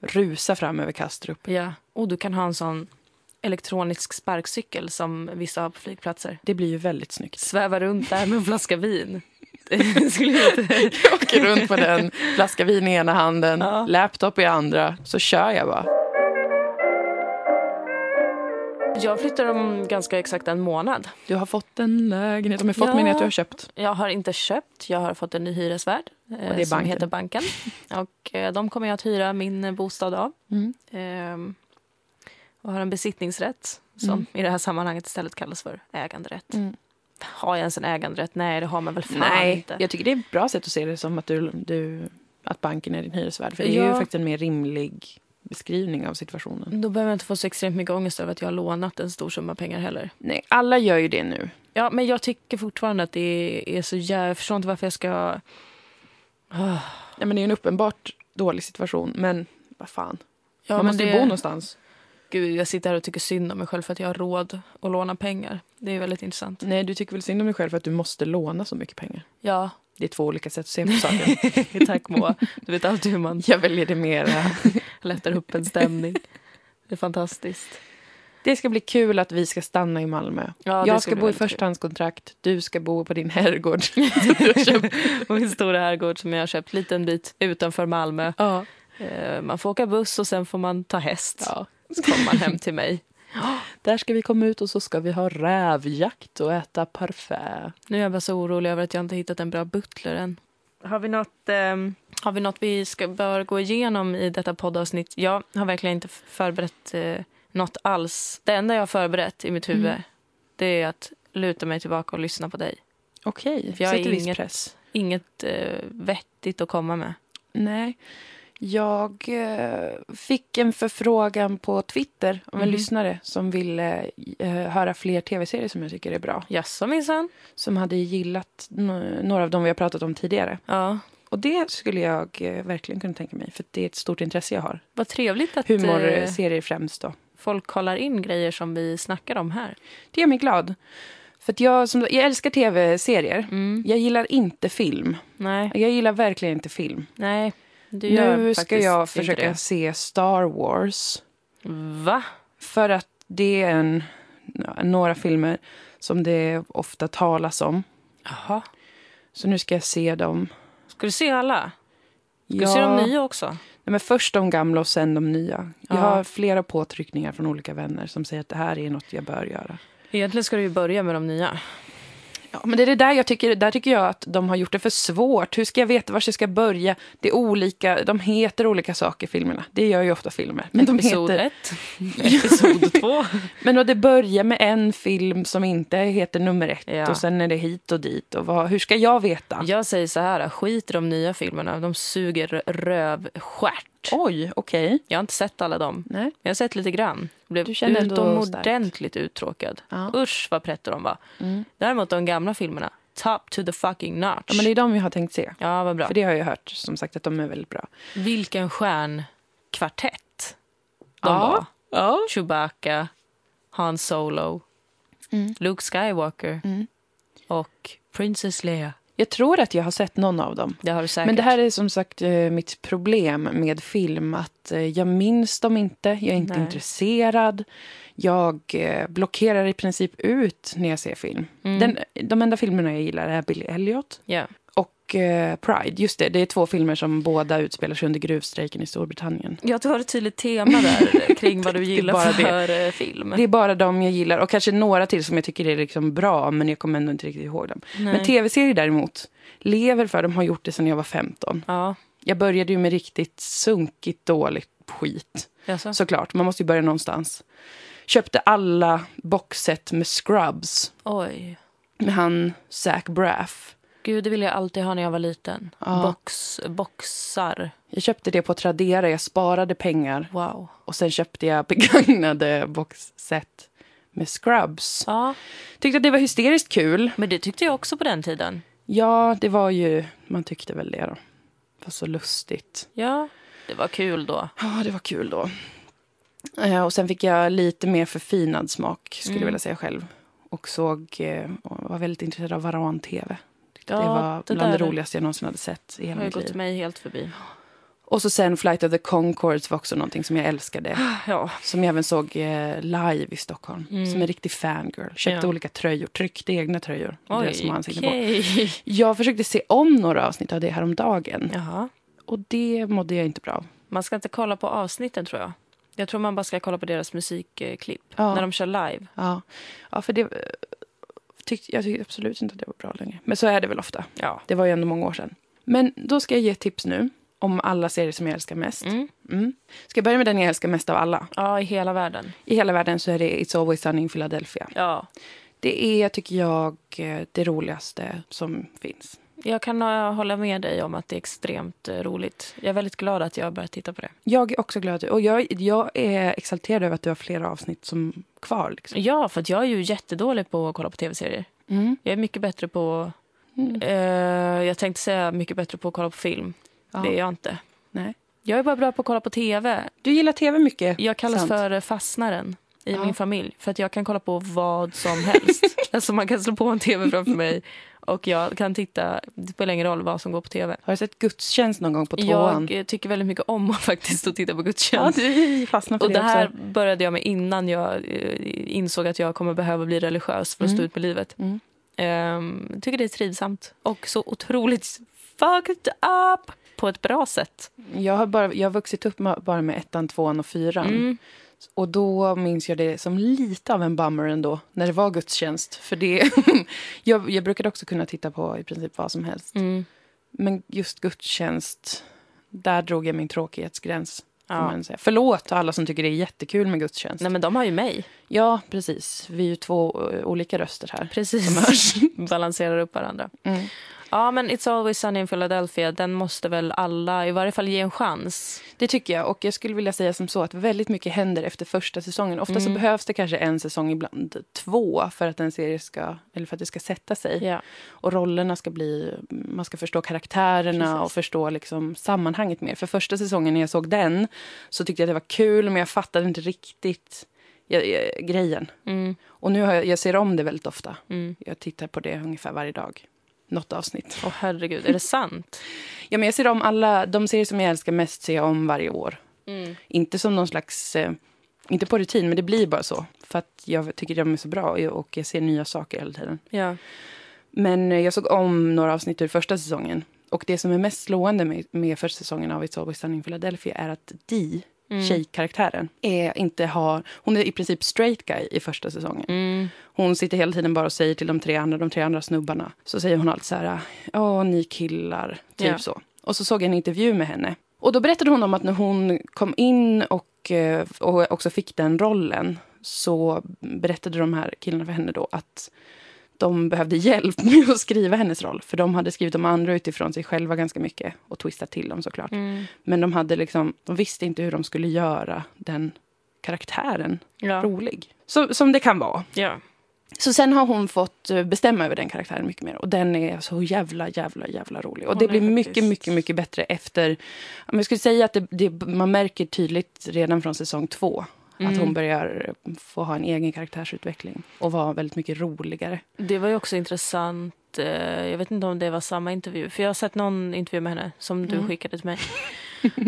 S1: Rusa fram över Kastrup.
S2: Ja. Och du kan ha en sån elektronisk sparkcykel som vissa har på flygplatser.
S1: Det blir ju väldigt snyggt.
S2: Sväva runt där med en flaska vin. Det skulle jag
S1: åker runt på den, flaska vin i ena handen,
S2: Ja.
S1: laptop i andra, så kör jag bara.
S2: Jag flyttar om ganska exakt en månad.
S1: Du har fått en lägenhet. Om jag fått
S2: Ja.
S1: min lägenhet du har köpt.
S2: Jag har inte köpt, jag har fått en ny hyresvärd eh,
S1: Och det är
S2: som
S1: banken.
S2: heter Banken. Och eh, de kommer jag att hyra min eh, bostad av.
S1: Mm.
S2: Ehm, och har en besittningsrätt som
S1: Mm.
S2: i det här sammanhanget istället kallas för äganderätt.
S1: Mm.
S2: Har jag ens en äganderätt? Nej, det har man väl fan
S1: Nej,
S2: inte.
S1: jag tycker det är ett bra sätt att se det som att, du, du, att banken är din hyresvärd. För det är ju
S2: Ja.
S1: faktiskt en mer rimlig beskrivning av situationen.
S2: Då behöver jag inte få så extremt mycket ångest över att jag har lånat en stor summa pengar heller.
S1: Nej, alla gör ju det nu.
S2: Ja, men jag tycker fortfarande att det är så jävla... Jag förstår inte varför jag ska... Ah,
S1: Nej, men det är ju en uppenbart dålig situation, men vad fan.
S2: ja,
S1: Man
S2: men
S1: måste ju bo någonstans.
S2: Gud, jag sitter här och tycker synd om mig själv för att jag har råd att låna pengar. Det är väldigt intressant.
S1: Nej, du tycker väl synd om dig själv för att du måste låna så mycket pengar.
S2: Ja,
S1: Det är två olika sätt att se på saken.
S2: tack Moa. Du vet alltid hur man
S1: Jag väljer det mera.
S2: lättar upp en stämning. Det är fantastiskt.
S1: Det ska bli kul att vi ska stanna i Malmö.
S2: Ja, det
S1: jag ska,
S2: bli
S1: bo i
S2: väldigt kul.
S1: förstahandskontrakt, du ska bo på din herrgård. som du har köpt.
S2: Och min stora herrgård som jag har köpt, liten bit utanför Malmö.
S1: ja.
S2: Eh, Man får åka buss och sen får man ta häst.
S1: Ja.
S2: Så kommer man hem till mig.
S1: Där ska vi komma ut och så ska vi ha rävjakt och äta parfait.
S2: Nu är jag bara så orolig över att jag inte hittat en bra butler än. Har vi något, ehm, har vi, något vi ska, bör gå igenom i detta poddavsnitt? Jag har verkligen inte förberett eh, något alls. Det enda jag har förberett i mitt huvud
S1: Mm.
S2: det är att luta mig tillbaka och lyssna på dig.
S1: Okej,
S2: För jag
S1: sätter
S2: är
S1: viss
S2: inget-
S1: press.
S2: Inget eh, vettigt att komma med.
S1: Nej. Jag eh, fick en förfrågan på Twitter av en
S2: Mhm.
S1: lyssnare som ville eh, höra fler tv-serier som jag tycker är bra.
S2: Jaså minsann?
S1: Som hade gillat n- några av dem vi har pratat om tidigare.
S2: Ja.
S1: Och det skulle jag eh, verkligen kunna tänka mig, för det är ett stort intresse jag har.
S2: Vad trevligt att eh,
S1: Humorserier främst då.
S2: folk kollar in grejer som vi snackar om här.
S1: Det gör mig glad. För att jag, som, jag älskar tv-serier.
S2: Mm.
S1: Jag gillar inte film.
S2: Nej,
S1: Jag gillar verkligen inte film.
S2: nej. Du gör
S1: Nu ska
S2: faktiskt
S1: jag
S2: inte
S1: försöka
S2: det.
S1: se Star Wars.
S2: Va?
S1: För att det är en, några filmer som det ofta talas om.
S2: Jaha.
S1: Så nu ska jag se dem.
S2: Ska du se alla? Ska
S1: Ja.
S2: du se de nya också?
S1: Nej, men först de gamla och sen de nya. Jag
S2: Ja.
S1: har flera påtryckningar från olika vänner som säger att det här är något jag bör göra.
S2: Egentligen ska du ju börja med de nya.
S1: Ja, men det är det där jag tycker, där tycker jag att de har gjort det för svårt. Hur ska jag veta var jag ska börja? Det är olika, de heter olika saker filmerna. Det gör ju ofta filmer. Men de
S2: Episod
S1: heter...
S2: 1, episod 2.
S1: Men då det börjar med en film som inte heter nummer ett
S2: Ja.
S1: och sen är det hit och dit. Och vad, hur ska jag veta?
S2: Jag säger så här, skit i de nya filmerna. De suger rövstjärt.
S1: Oj, okej.
S2: Jag har inte sett alla dem.
S1: Nej.
S2: Jag har sett lite grann. Jag blev
S1: Du känner ändå
S2: utomordentligt uttråkad.
S1: Ja. Mm.
S2: Usch vad pretto de var. Däremot de gamla filmerna, top to the fucking notch.
S1: Ja, men det är de jag har tänkt se.
S2: Ja, vad bra.
S1: För det har jag hört, som sagt, att de är väldigt bra.
S2: Vilken stjärnkvartett de
S1: Ja.
S2: var.
S1: Ja.
S2: Chewbacca, Han Solo,
S1: Mm.
S2: Luke Skywalker och Princess Leia.
S1: Jag tror att jag har sett någon av dem.
S2: Det har du säkert.
S1: Men det här är som sagt eh, mitt problem med film. Att eh, jag minns dem inte, jag är inte
S2: Nej.
S1: intresserad. Jag eh, blockerar i princip ut när jag ser film.
S2: Mm.
S1: Den, de enda filmerna jag gillar är Billy Elliot
S2: Ja.
S1: och eh, Pride. Just det, det är två filmer som båda utspelar sig under gruvstrejken i Storbritannien.
S2: Jag har ett tydligt tema där kring vad du gillar
S1: bara det.
S2: för eh, film.
S1: Det är bara de jag gillar och kanske några till som jag tycker är liksom bra men jag kommer ändå inte riktigt ihåg dem. Men
S2: Nej.
S1: tv-serier däremot, lever för dem, har gjort det sedan jag var 15.
S2: Ja,
S1: Jag började ju med riktigt sunkigt dåligt skit.
S2: alltså.
S1: Såklart, man måste ju börja någonstans. Köpte alla boxset med Scrubs
S2: Oj.
S1: med han Zach Braff.
S2: Gud, det ville jag alltid ha när jag var liten.
S1: Ja.
S2: Box, boxar.
S1: Jag köpte det på Tradera, jag sparade pengar
S2: Wow.
S1: och sen köpte jag begagnade boxset med Scrubs.
S2: Ja,
S1: Tyckte att det var hysteriskt kul.
S2: men det tyckte jag också på den tiden.
S1: Ja, det var ju, man tyckte väl det då. Fast så lustigt.
S2: Ja, det var kul då.
S1: Ja, det var kul då. Eh, Och sen fick jag lite mer förfinad smak, skulle
S2: Mm.
S1: jag vilja säga själv. Och såg, eh, och var väldigt intresserad av Varan-TV.
S2: Ja,
S1: det var
S2: det
S1: bland det
S2: där
S1: roligaste jag någonsin hade sett i hela
S2: har ju
S1: mitt
S2: gått
S1: liv.
S2: mig helt förbi.
S1: Och så sen Flight of the Conchords var också någonting som jag älskade.
S2: Ja,
S1: Som jag även såg eh, live i Stockholm. Som en riktig fangirl. Köpte
S2: Mm. Ja.
S1: olika tröjor, tryckte egna tröjor. med det som
S2: oj,
S1: var ansikten på.
S2: okej.
S1: Jag försökte se om några avsnitt av det här om dagen.
S2: Jaha.
S1: Och det mådde jag inte bra av.
S2: Man ska inte kolla på avsnitten, tror jag. Jag tror man bara ska kolla på deras musikklipp
S1: Ja.
S2: när de kör live.
S1: Ja, ja för det... eh, Tyck, jag tyckte absolut inte att det var bra längre. Men så är det väl ofta.
S2: Ja.
S1: Det var ju ändå många år sedan. Men då ska jag ge tips nu om alla serier som jag älskar mest.
S2: Mm.
S1: Mm. Ska jag börja med den jag älskar mest av alla?
S2: ja, i hela världen.
S1: I hela världen så är det It's Always Sunny in Philadelphia.
S2: Ja.
S1: Det är, tycker jag, eh, det roligaste som finns.
S2: Jag kan eh, hålla med dig om att det är extremt eh, roligt. Jag är väldigt glad att jag har börjat titta på det.
S1: Jag är också glad. Och jag, jag är exalterad över att du har flera avsnitt som kvar. Liksom.
S2: Ja, för att jag är ju jättedålig på att kolla på tv-serier.
S1: Mm.
S2: Jag är mycket bättre på...
S1: Mm.
S2: Eh, jag tänkte säga mycket bättre på att kolla på film.
S1: Ja.
S2: Det är jag inte.
S1: Nej.
S2: Jag är bara bra på att kolla på tv.
S1: Du gillar tv mycket.
S2: Jag kallas
S1: Sant.
S2: för fastnaren i
S1: Ja.
S2: min familj. För att jag kan kolla på vad som helst. alltså man kan slå på en tv framför mig och jag kan titta, det spelar ingen roll vad som går på tv.
S1: Har du sett gudstjänst någon gång på tvåan?
S2: Jag eh, tycker väldigt mycket om att faktiskt att titta på
S1: Ja,
S2: gudstjänst.
S1: du fastnar för
S2: Och det här
S1: också.
S2: började jag med innan jag eh, insåg att jag kommer behöva bli religiös för att stå
S1: Mm.
S2: ut med livet.
S1: Mm.
S2: Ehm, tycker det är trivsamt och så otroligt fucked up på ett bra sätt.
S1: Jag har, bara, jag har vuxit upp med, bara med ettan, tvåan och fyran.
S2: Mm.
S1: Och då minns jag det som lite av en bummer ändå, när det var gudstjänst. För det, jag, jag brukade också kunna titta på i princip vad som helst.
S2: Mm.
S1: Men just gudstjänst, där drog jag min tråkighetsgräns. får
S2: Ja.
S1: Man säga. Förlåt alla som tycker det är jättekul med gudstjänst.
S2: Nej men de har ju mig.
S1: Ja, precis. Vi är ju två eh, olika röster här.
S2: Precis. Balanserar upp varandra.
S1: Mm.
S2: Ja men It's Always Sunny in Philadelphia, den måste väl alla i varje fall ge en chans.
S1: Det tycker jag. Och jag skulle vilja säga som så att väldigt mycket händer efter första säsongen. Ofta så behövs det kanske en säsong, ibland två, för att en serie ska, eller för att det ska sätta sig.
S2: Ja.
S1: Och rollerna ska bli... Man ska förstå karaktärerna
S2: Precis.
S1: och förstå liksom sammanhanget mer. För första säsongen när jag såg den så tyckte jag det var kul, men jag fattade inte riktigt jag, jag, grejen.
S2: Mm.
S1: Och nu har jag, jag ser om det väldigt ofta.
S2: Mm.
S1: Jag tittar på det ungefär varje dag. Något avsnitt.
S2: Åh herregud, är det sant?
S1: Ja, men jag ser om alla, de serier som jag älskar mest ser jag om varje år.
S2: Mm.
S1: Inte som någon slags, eh, inte på rutin, men det blir bara så. För att jag tycker de är så bra och jag- och jag ser nya saker hela tiden.
S2: Ja.
S1: Men eh, jag såg om några avsnitt ur första säsongen. Och det som är mest slående med, med första säsongen av It's Always Sunny in Philadelphia är att Dee, tjejkaraktären, är inte har, hon är i princip straight guy i första säsongen.
S2: Mm.
S1: Hon sitter hela tiden bara och säger till de tre andra, de tre andra snubbarna. Så säger hon alltid så här, ja ni killar, typ
S2: Ja.
S1: så. Och så såg jag en intervju med henne. Och då berättade hon om att när hon kom in och, eh, och också fick den rollen så berättade de här killarna för henne då att de behövde hjälp med att skriva hennes roll. För de hade skrivit de andra utifrån sig själva ganska mycket och twistat till dem såklart.
S2: Mm.
S1: Men de, hade liksom, de visste inte hur de skulle göra den karaktären
S2: Ja.
S1: rolig. Som, som det kan vara.
S2: ja.
S1: Så sen har hon fått eh, bestämma över den karaktären mycket mer. Och den är så jävla, jävla, jävla rolig. Och
S2: Hon
S1: det
S2: är
S1: blir mycket,
S2: faktiskt-
S1: mycket, mycket bättre efter... ja, men Jag skulle säga att det, det, man märker tydligt redan från säsong två
S2: Mm.
S1: att hon börjar få ha en egen karaktärsutveckling och vara väldigt mycket roligare.
S2: Det var ju också intressant. eh, Jag vet inte om det var samma intervju. För jag har sett någon intervju med henne som du skickade till mig.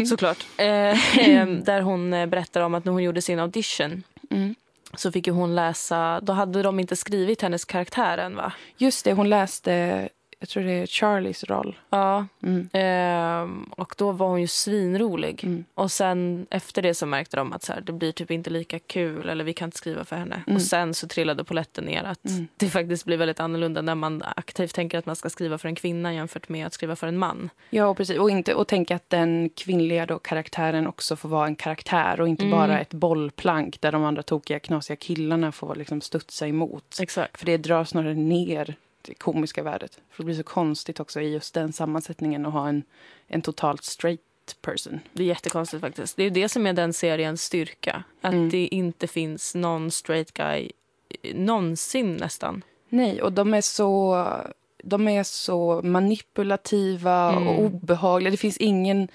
S2: Såklart. Eh, eh, Där hon eh, berättar om att när hon gjorde sin audition
S1: Mm.
S2: så fick ju hon läsa, då hade de inte skrivit hennes karaktär än va?
S1: Just det, hon läste, jag tror det är Charlies roll.
S2: Ja.
S1: Mm.
S2: Ehm, och då var hon ju svinrolig.
S1: Mm.
S2: Och sen efter det så märkte de att så här, det blir typ inte lika kul eller vi kan inte skriva för henne. Och sen så trillade poletten ner att
S1: Mm.
S2: det faktiskt blir väldigt annorlunda när man aktivt tänker att man ska skriva för en kvinna jämfört med att skriva för en man.
S1: Ja, och precis. Och, inte, och tänka att den kvinnliga då, karaktären också får vara en karaktär och inte
S2: Mm.
S1: bara ett bollplank där de andra tokiga, knasiga killarna får liksom studsa emot.
S2: Exakt.
S1: För det drar snarare ner det komiska värdet. För det blir så konstigt också i just den sammansättningen att ha en, en totalt straight person.
S2: Det är jättekonstigt faktiskt. Det är ju det som är den seriens styrka. Att
S1: Mm.
S2: det inte finns någon straight guy eh, någonsin nästan.
S1: Nej, och de är så, de är så manipulativa
S2: Mm.
S1: och obehagliga. Det finns ingen,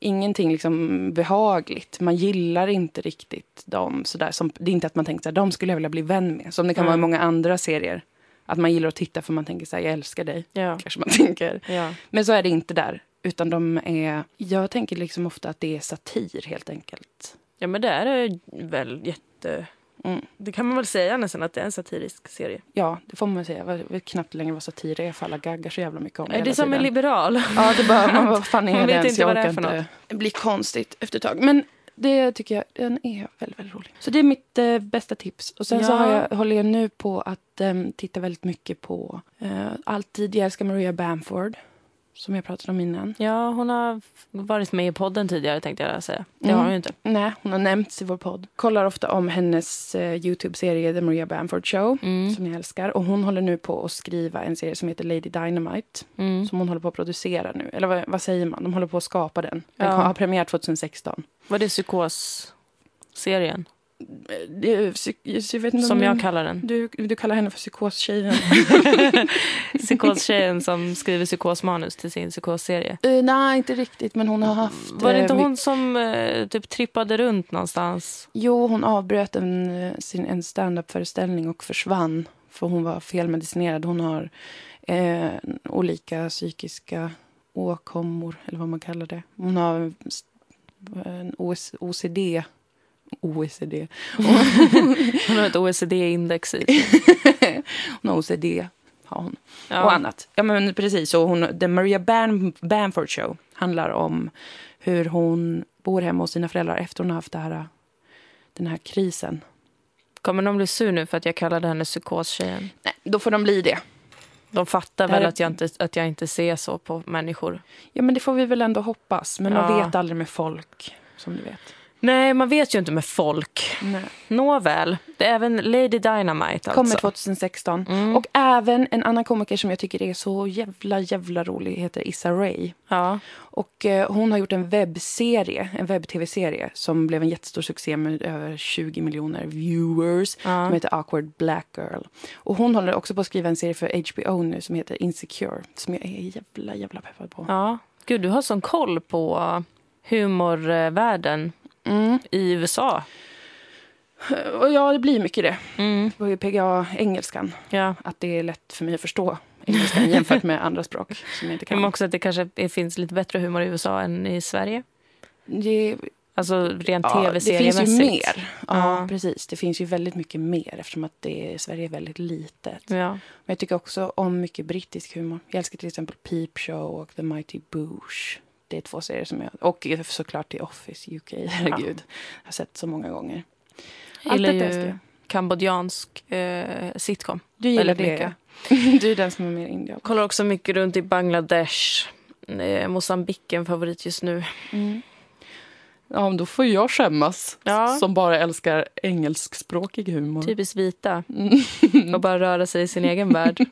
S1: ingenting liksom behagligt. Man gillar inte riktigt dem. Sådär, som, det är inte att man tänker att de skulle jag vilja bli vän med. Som det kan
S2: Mm.
S1: vara i många andra serier. Att man gillar att titta för man tänker så här, jag älskar dig.
S2: Ja.
S1: Kanske man tänker.
S2: ja.
S1: Men så är det inte där. Utan de är... Jag tänker liksom ofta att det är satir, helt enkelt.
S2: Ja, men det är väl jätte...
S1: Mm.
S2: Det kan man väl säga nästan att det är en satirisk serie.
S1: Ja, det får man säga. Jag vet knappt längre vad satir är, för alla gaggar så jävla mycket om
S2: Är
S1: hela
S2: det som en
S1: tiden.
S2: liberal?
S1: Ja, det bara, man, vad fan är
S2: Man
S1: det
S2: vet
S1: ens?
S2: inte
S1: jag
S2: vad det
S1: orkar
S2: är för
S1: inte. Det blir konstigt efter ett tag. Men det tycker jag den är väldigt, väldigt rolig. Så det är mitt eh, bästa tips. Och sen så
S2: Ja.
S1: har jag, håller jag nu på att eh, titta väldigt mycket på eh, Alltid jag älskar Maria Bamford. Som jag pratade om innan.
S2: Ja, hon har varit med i podden tidigare tänkte jag säga. Det
S1: Mm.
S2: har hon ju inte.
S1: Nej, hon har nämnts i vår podd. Kollar ofta om hennes eh, Youtube-serie The Maria Bamford Show.
S2: Mm.
S1: Som jag älskar. Och hon håller nu på att skriva en serie som heter Lady Dynamite.
S2: Mm.
S1: Som hon håller på att producera nu. Eller vad, vad säger man? De håller på att skapa den. Den
S2: Ja.
S1: har premiär 2016.
S2: Var det psykos-serien?
S1: Eh, det är psyk- Jag vet inte om
S2: Som
S1: den-
S2: jag kallar den.
S1: Du, du kallar henne för psykostjejen.
S2: Psykos-tjejen som skriver psykosmanus till sin psykos-serie.
S1: Eh, nej, inte riktigt, men hon har haft...
S2: Mm. Var det inte
S1: eh, my-
S2: hon som eh, typ trippade runt någonstans?
S1: Jo, hon avbröt en, eh, sin, en stand-up-föreställning och försvann. För hon var felmedicinerad. Hon har eh, olika psykiska åkommor, eller vad man kallar det. Hon har en s- en OS, OCD. OECD.
S2: Hon har ett OECD-index i sig.
S1: Hon har OCD, har hon. och
S2: Ja.
S1: annat. Ja, men precis. Och hon, The Maria Ban- Bamford Show handlar om hur hon bor hemma hos sina föräldrar efter hon har haft det här, den här krisen.
S2: Kommer de bli sur nu för att jag kallade henne psykos-tjejen?
S1: Nej, då får de bli det.
S2: De fattar
S1: Det här
S2: väl
S1: är-
S2: att jag, inte, att jag inte ser så på människor.
S1: Ja, men det får vi väl ändå hoppas. Men man
S2: Ja.
S1: vet aldrig med folk, som du vet.
S2: Nej, man vet ju inte med folk.
S1: Nej. alltså.
S2: Nåväl, det är även Lady Dynamite
S1: Kommer
S2: alltså. Mm.
S1: 2016. Och även en annan komiker som jag tycker är så jävla, jävla rolig heter Issa Rae.
S2: Ja.
S1: Och eh, hon har gjort en webbserie, en webb-tv-serie som blev en jättestor succé med över 20 miljoner viewers. Som heter Awkward Black Girl. Och hon håller också på att skriva en serie för HBO nu som heter Insecure. Som jag är jävla, jävla peppad på.
S2: ja. Gud, du har sån koll på humorvärlden
S1: Mm.
S2: i USA.
S1: Eh, Och ja, det blir mycket det.
S2: Mm.
S1: Det var ju PGA engelskan.
S2: Ja.
S1: Att det är lätt för mig att förstå engelskan jämfört med andra språk som jag inte
S2: Men
S1: kan.
S2: också att det kanske är- finns lite bättre humor i USA än i Sverige.
S1: Det,
S2: Alltså rent
S1: ja, det finns ju
S2: tv-seriemässigt.
S1: mer. Ja,
S2: Ja.
S1: precis. Det finns ju väldigt mycket mer eftersom att det, Sverige är väldigt litet.
S2: Ja.
S1: Men jag tycker också om mycket brittisk humor. Jag älskar till exempel Peep Show och The Mighty Boosh. Det är två serier som jag... Och såklart The Office UK. Herregud. Jag har sett så många gånger.
S2: Jag
S1: Allt
S2: gillar
S1: detta älskar
S2: ju
S1: jag.
S2: kambodjansk eh, sitcom.
S1: Du gillar
S2: väldigt
S1: det, ja. Du är den som är mer indian.
S2: Kollar också mycket runt i Bangladesh. Eh, Mozambique är en favorit just nu.
S1: Mm. Ja, men då får jag skämmas.
S2: Ja.
S1: Som bara älskar engelskspråkig humor.
S2: Typiskt vita.
S1: Mm.
S2: Och bara röra sig i sin egen värld.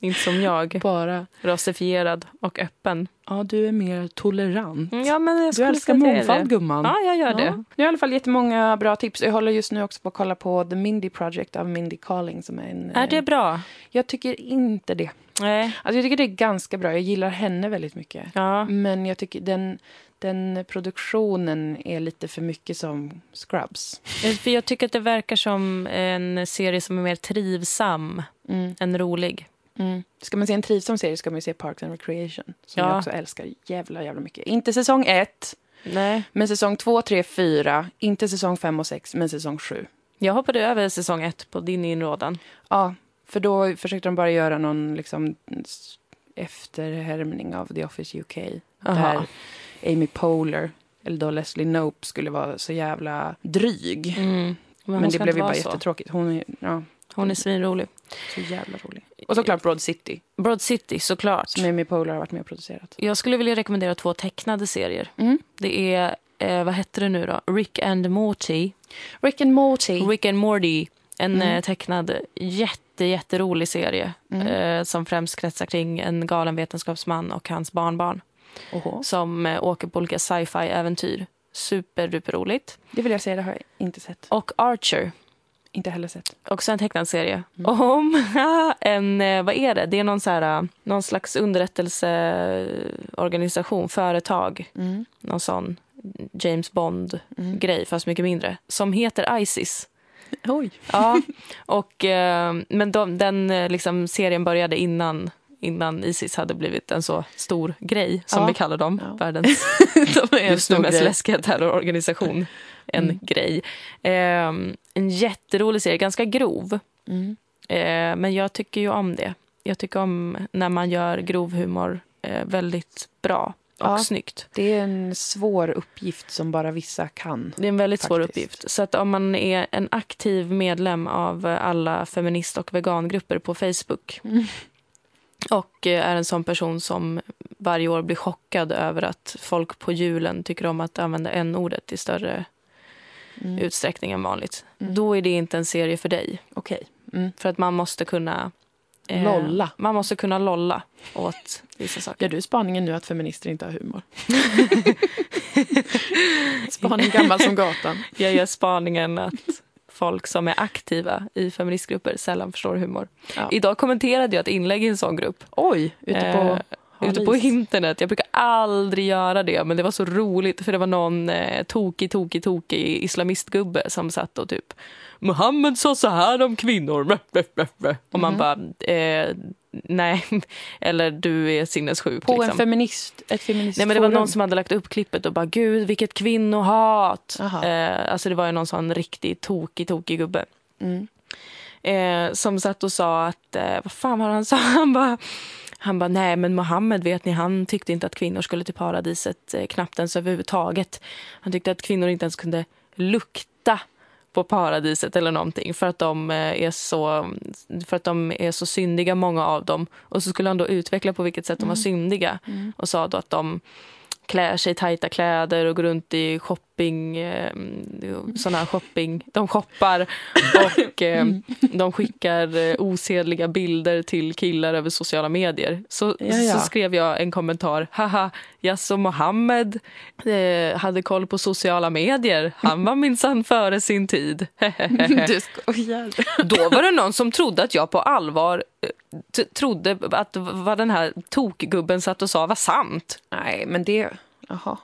S2: Inte som jag,
S1: Bara.
S2: rasifierad och öppen.
S1: Ja, du är mer tolerant.
S2: Ja, men jag
S1: Mm, Du
S2: skulle
S1: älskar
S2: säga att jag är
S1: mångfald,
S2: det.
S1: gumman.
S2: Ja, jag gör det.
S1: Nu har i alla fall jättemånga bra tips. Jag håller just nu också på att kolla på The Mindy Project av Mindy Carling. Som är en, eh,
S2: Är det bra?
S1: Jag tycker inte det.
S2: Eh. Nej.
S1: Alltså jag tycker det är ganska bra. Jag gillar henne väldigt mycket.
S2: Ja.
S1: Men jag tycker den, den produktionen är lite för mycket som Scrubs.
S2: Eh, För jag tycker att det verkar som en serie som är mer trivsam
S1: Mm.
S2: än rolig.
S1: Ska man se en trivsam serie ska man ju se Parks and Recreation. Som
S2: Ja.
S1: jag också älskar jävla, jävla mycket. Inte säsong ett,
S2: Nej.
S1: men säsong två, tre, fyra. Inte säsong fem och sex, men säsong sju.
S2: Jag hoppade över säsong ett på din inrådan.
S1: Ja, för då försökte de bara göra någon liksom s- efterhärmning av The Office UK.
S2: Aha.
S1: Där Amy Poehler, eller då Leslie Knope, skulle vara så jävla dryg.
S2: Mm. Men,
S1: Men,
S2: hon
S1: det
S2: ska
S1: blev
S2: inte
S1: ju bara
S2: vara så.
S1: jättetråkigt. Hon är ja,
S2: Hon är svinrolig.
S1: så jävla rolig. Och såklart Broad City,
S2: Broad City, såklart.
S1: som Amy Poehler har varit med och producerat.
S2: Jag skulle vilja rekommendera två tecknade serier.
S1: Mm.
S2: Det är, eh, vad hette det nu då? Rick and Morty.
S1: Rick and Morty.
S2: Rick and Morty, en
S1: Mm.
S2: eh, tecknad jätte, jätterolig serie
S1: Mm.
S2: eh, som främst kretsar kring en galen vetenskapsman och hans barnbarn
S1: Oho.
S2: som eh, åker på olika sci-fi-äventyr. Superduperroligt.
S1: Det vill jag säga, det har jag inte sett.
S2: Och Archer,
S1: Inte heller sett.
S2: också en tecknad serie
S1: Mm.
S2: om en, eh, vad är det? Det är någon, så här, eh, någon slags underrättelseorganisation, företag,
S1: Mm.
S2: någon sån James Bond-grej, fast mycket mindre, som heter Isis.
S1: Oj.
S2: Ja, och, eh, men de, den eh, liksom, serien började innan, innan Isis hade blivit en så stor grej, som
S1: Ja.
S2: vi kallar dem.
S1: Ja.
S2: Världens de är
S1: Just nu
S2: den mest
S1: grej. Mm.
S2: läskiga terrororganisation. En grej. Eh, en jätterolig serie, ganska grov.
S1: Mm.
S2: Eh, men jag tycker ju om det. Jag tycker om när man gör grov humor eh, väldigt bra. och
S1: Ja.
S2: snyggt.
S1: Det är en svår uppgift som bara vissa kan.
S2: Det är en väldigt svår
S1: Faktiskt.
S2: uppgift. Så att om man är en aktiv medlem av eh, alla feminist och vegangrupper på Facebook och eh, är en sån person som varje år blir chockad över att folk på julen tycker om att använda n-ordet i större
S1: Mm.
S2: utsträckning än vanligt.
S1: Mm.
S2: Då är det inte en serie för dig.
S1: Okej. Mm.
S2: För att man måste kunna... eh,
S1: Lolla.
S2: Man måste kunna lolla åt vissa saker.
S1: Gör du spaningen nu att feminister inte har humor? Spaning gammal som gatan.
S2: Jag gör spaningen att folk som är aktiva i feministgrupper sällan förstår humor.
S1: Ja.
S2: Idag kommenterade jag ett inlägg i en sån grupp.
S1: Oj, ute på
S2: eh, ute på internet. Jag brukar aldrig göra det, men det var så roligt för det var någon eh, tokig, tokig, tokig islamistgubbe som satt och typ Mohammed sa så här om kvinnor. Mäh, mäh, mäh, mäh." Och man bara, eh, nej, eller du är sinnessjuk.
S1: På en
S2: liksom.
S1: feminist, ett feministforum.
S2: Nej, men det var någon som hade lagt upp klippet och bara gud vilket kvinnohat.
S1: Aha.
S2: Eh, alltså det var ju någon sån riktigt tokig, tokig gubbe.
S1: Mm.
S2: Eh, som satt och sa att, eh, vad fan var det han sa? Han bara, han bara, nej men Mohammed vet ni, han tyckte inte att kvinnor skulle till paradiset eh, knappt ens överhuvudtaget. Han tyckte att kvinnor inte ens kunde lukta på paradiset eller någonting för att de eh, är så, för att de är så syndiga många av dem. Och så skulle han då utveckla på vilket sätt de var
S1: Mm.
S2: syndiga och sa då att de klär sig i tajta kläder och går runt i shopping, eh,
S1: Mm.
S2: såna här shopping, de shoppar och eh,
S1: Mm.
S2: de skickar eh, osedliga bilder till killar över sociala medier. Så,
S1: Ja, ja.
S2: så skrev jag en kommentar, haha, jaså Mohammed eh, hade koll på sociala medier, han var minsann före sin tid.
S1: Du skojar.
S2: Då var det någon som trodde att jag på allvar eh, t- trodde att v- vad den här tokgubben satt och sa var sant.
S1: Nej, men det... Jaha.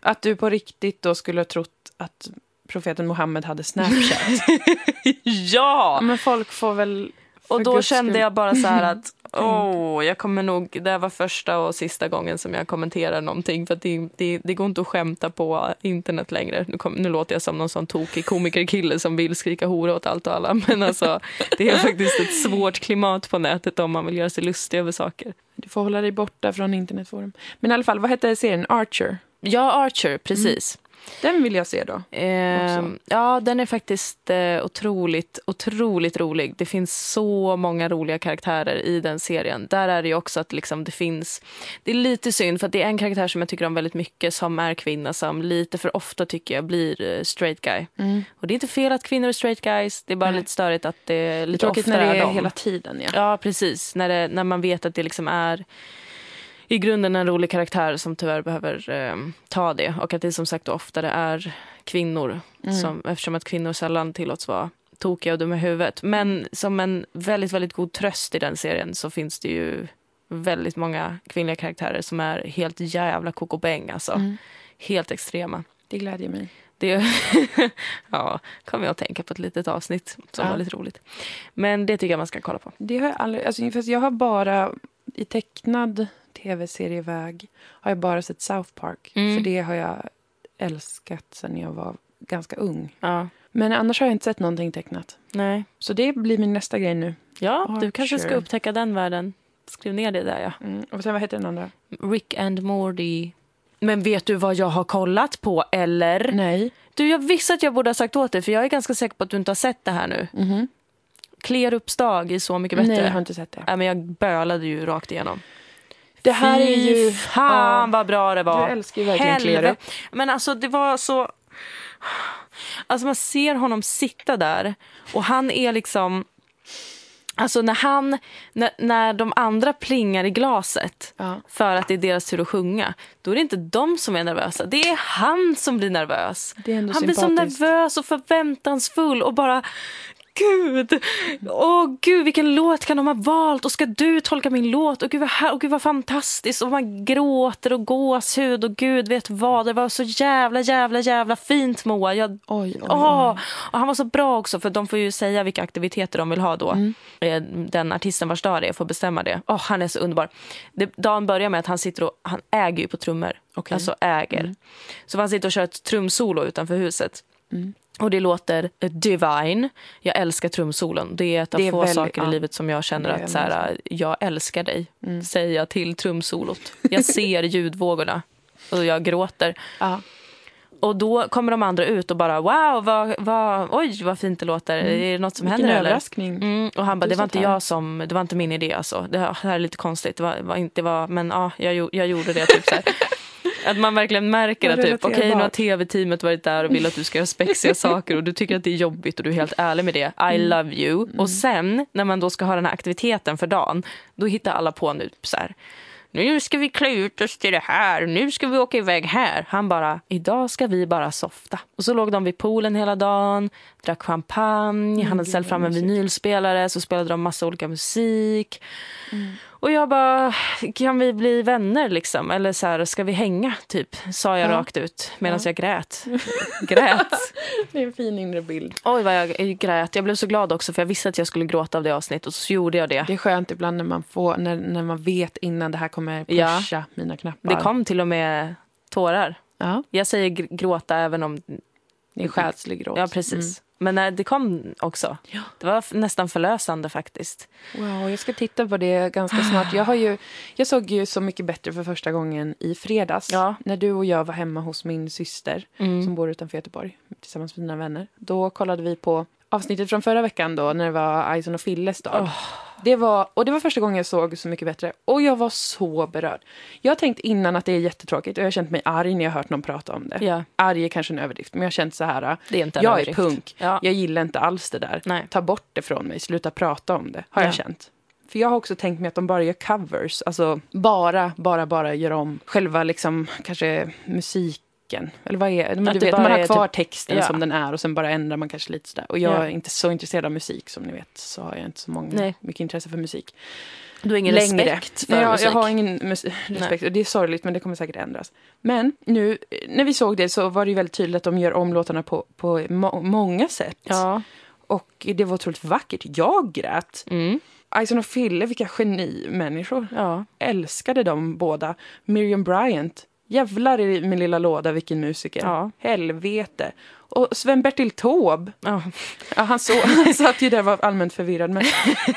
S1: Att du på riktigt då skulle ha trott att profeten Mohammed hade Snapchat.
S2: Ja!
S1: Ja, men folk får väl... för
S2: Och då
S1: guds
S2: kände
S1: skull- Mm.
S2: jag bara så här att åh, jag kommer nog, det här var första och sista gången som jag kommenterar någonting för att det, det, det går inte att skämta på internet längre. Nu, kom, nu låter jag som någon sån tokig komikerkille som vill skrika hora åt allt och alla men alltså det är faktiskt ett svårt klimat på nätet om man vill göra sig lustig över saker.
S1: Du får hålla dig borta från internetforum. Men i alla fall, vad hette serien? Archer?
S2: Ja, Archer, precis.
S1: Den vill jag se då.
S2: Eh,
S1: Också.
S2: ja, den är faktiskt eh, otroligt, otroligt rolig. Det finns så många roliga karaktärer i den serien. Där är det ju också att liksom det finns... Det är lite synd, för att det är en karaktär som jag tycker om väldigt mycket som är kvinna som lite för ofta tycker jag blir eh, straight guy. Och det är inte fel att kvinnor är straight guys, det är bara lite störigt att det är lite
S1: Tråkigt
S2: oftare
S1: när det är
S2: dem.
S1: hela tiden, ja.
S2: Ja, precis. När, det, när man vet att det liksom är i grunden en rolig karaktär som tyvärr behöver eh, ta det. Och att det som sagt oftare är kvinnor
S1: Mm.
S2: som, eftersom att kvinnor sällan tillåts vara tokiga och dumma i huvudet. Men som en väldigt, väldigt god tröst i den serien så finns det ju väldigt många kvinnliga karaktärer som är helt jävla kokobäng alltså. Helt extrema.
S1: Mm. Det glädjer mig.
S2: Det ja, kom jag att tänka på ett litet avsnitt som
S1: Ja.
S2: var lite roligt. Men det tycker jag man ska kolla på.
S1: Det har jag aldrig... Alltså, fast jag har bara... I tecknad tv-serieväg har jag bara sett South Park.
S2: Mm.
S1: För det har jag älskat sen jag var ganska ung.
S2: Ja.
S1: Men annars har jag inte sett någonting tecknat.
S2: Nej.
S1: Så det blir min nästa grej nu.
S2: Ja,
S1: Archer.
S2: du kanske ska upptäcka den världen. Skriv ner det där, ja.
S1: Mm. Och sen vad heter den andra?
S2: Rick and Morty. Men vet du vad jag har kollat på, eller?
S1: Nej.
S2: Du, jag visste att jag borde ha sagt åt dig, för jag är ganska säker på att du inte har sett det här nu.
S1: Mhm.
S2: Klerups dag är Så mycket
S1: Nej,
S2: bättre.
S1: jag
S2: Nej,
S1: har inte sett det.
S2: men jag bölade ju rakt igenom.
S1: Det här är ju...
S2: Fy fan vad bra det var.
S1: Jag älskar ju verkligen Klerup.
S2: Men alltså det var så... Alltså man ser honom sitta där och han är liksom... Alltså när han, när, när de andra plingar i glaset
S1: Ja.
S2: för att det är deras tur att sjunga, då är det inte de som är nervösa. Det är han som blir nervös.
S1: Det är ändå
S2: han blir så
S1: sympatiskt.
S2: nervös och förväntansfull och bara Gud! Åh gud, vilken låt kan de ha valt? Och ska du tolka min låt? Och gud vad, här, och gud vad fantastiskt! Och man gråter och gåshud och gud vet vad. Det var så jävla, jävla, jävla fint Moa. Jag
S1: Oj, oj,
S2: Åh, och han var så bra också, för de får ju säga vilka aktiviteter de vill ha då.
S1: Mm.
S2: Eh, Den artisten vars dag det är får bestämma det. Åh, han är så underbar. Det, dagen börjar med att han sitter och, han äger ju på trummor.
S1: Okej. Mm.
S2: Alltså äger. Så han sitter och kör ett trumsolo utanför huset.
S1: Mm.
S2: Och det låter divine. Jag älskar trumsolon. Det är ett av
S1: Det är
S2: få
S1: väldigt-
S2: saker i
S1: ja.
S2: livet som jag känner
S1: Det är Mm.
S2: att så här, jag älskar dig, säger jag till trumsolot. Jag ser ljudvågorna. och jag gråter.
S1: Ja.
S2: Och då kommer de andra ut och bara wow, vad, vad, oj vad fint det låter. Är det något som
S1: Mm. Vilken
S2: händer eller?
S1: överraskning.
S2: Mm, och han bara,
S1: Du
S2: det var
S1: satt
S2: inte
S1: här."
S2: jag som, det var inte min idé alltså. Det här här är lite konstigt, det var, var inte, det var, men ja, jag, gjo- jag gjorde det typ så här. Att man verkligen märker
S1: Ja,
S2: att typ, okej nu har
S1: relaterbart.
S2: tv-teamet varit där och vill att du ska göra spexiga saker och du tycker att det är jobbigt och du är helt ärlig med det. I love you. Och sen när man då ska ha den här aktiviteten för dagen, då hittar alla på nu så här. Nu ska vi klä ut oss till det här, nu ska vi åka iväg här. Han bara, idag ska vi bara softa. Och så låg de vid poolen hela dagen, drack champagne, han hade ställt fram en vinylspelare, så spelade de massa olika musik.
S1: Mm.
S2: Och jag bara, kan vi bli vänner liksom? Eller så här, ska vi hänga? Typ, sa jag
S1: Ja.
S2: rakt ut medan jag grät. grät.
S1: Det är en fin inre bild.
S2: Oj vad jag grät. Jag blev så glad också för jag visste att jag skulle gråta av det avsnittet och så gjorde jag det.
S1: Det är skönt ibland när man, får, när, när man vet innan det här kommer
S2: Ja.
S1: pusha mina knappar.
S2: Det kom till och med tårar.
S1: Ja,
S2: Jag säger gr- gråta även om...
S1: det är själslig gråt. Mm.
S2: Ja, precis. Men nej, det kom också. Det var f- nästan förlösande faktiskt.
S1: Wow, jag ska titta på det ganska snart. Jag, har ju, jag såg ju Så mycket bättre för första gången i fredags.
S2: Ja.
S1: När du och jag var hemma hos min syster
S2: Mm.
S1: som bor utanför Göteborg tillsammans med dina vänner. Då kollade vi på avsnittet från förra veckan då när det var Ison och Filles dag. Det var, och det var första gången jag såg Så mycket bättre och jag var så berörd. Jag har tänkt innan att det är jättetråkigt och jag har känt mig arg när jag har hört någon prata om det.
S2: Ja.
S1: Arg är kanske en överdrift men jag har känt så här,
S2: Det är inte en
S1: jag
S2: överdrift.
S1: är punk,
S2: Ja.
S1: jag gillar inte alls det där.
S2: Nej.
S1: Ta bort det från mig, sluta prata om det, har
S2: Ja.
S1: jag känt. För jag har också tänkt mig att de bara gör covers, alltså bara, bara, bara gör om själva liksom kanske musiken. Eller vad är men
S2: Att
S1: du
S2: det
S1: vet,
S2: bara
S1: man
S2: är
S1: har kvar
S2: typ-
S1: texten
S2: ja.
S1: som den är och sen bara ändrar man kanske lite sådär. Och jag
S2: Ja.
S1: är inte så intresserad av musik som ni vet, så har jag inte så många,
S2: Nej.
S1: mycket intresse för musik.
S2: Du har ingen
S1: Längre.
S2: respekt för
S1: Nej, jag,
S2: musik.
S1: jag har ingen mus- respekt och det är sorgligt men det kommer säkert ändras. Men nu, eh, när vi såg det så var det ju väldigt tydligt att de gör om låtarna på, på må- många sätt.
S2: Ja.
S1: Och det var otroligt vackert. Jag grät.
S2: Mm.
S1: Ison och Fille, vilka genimänniskor.
S2: Ja.
S1: Älskade dem båda. Miriam Bryant. Jävlar i min lilla låda, vilken musiker.
S2: Ja.
S1: Helvete. Och Sven-Bertil Taube.
S2: Ja.
S1: Ja, han, så, han satt ju där och var allmänt förvirrad. Men,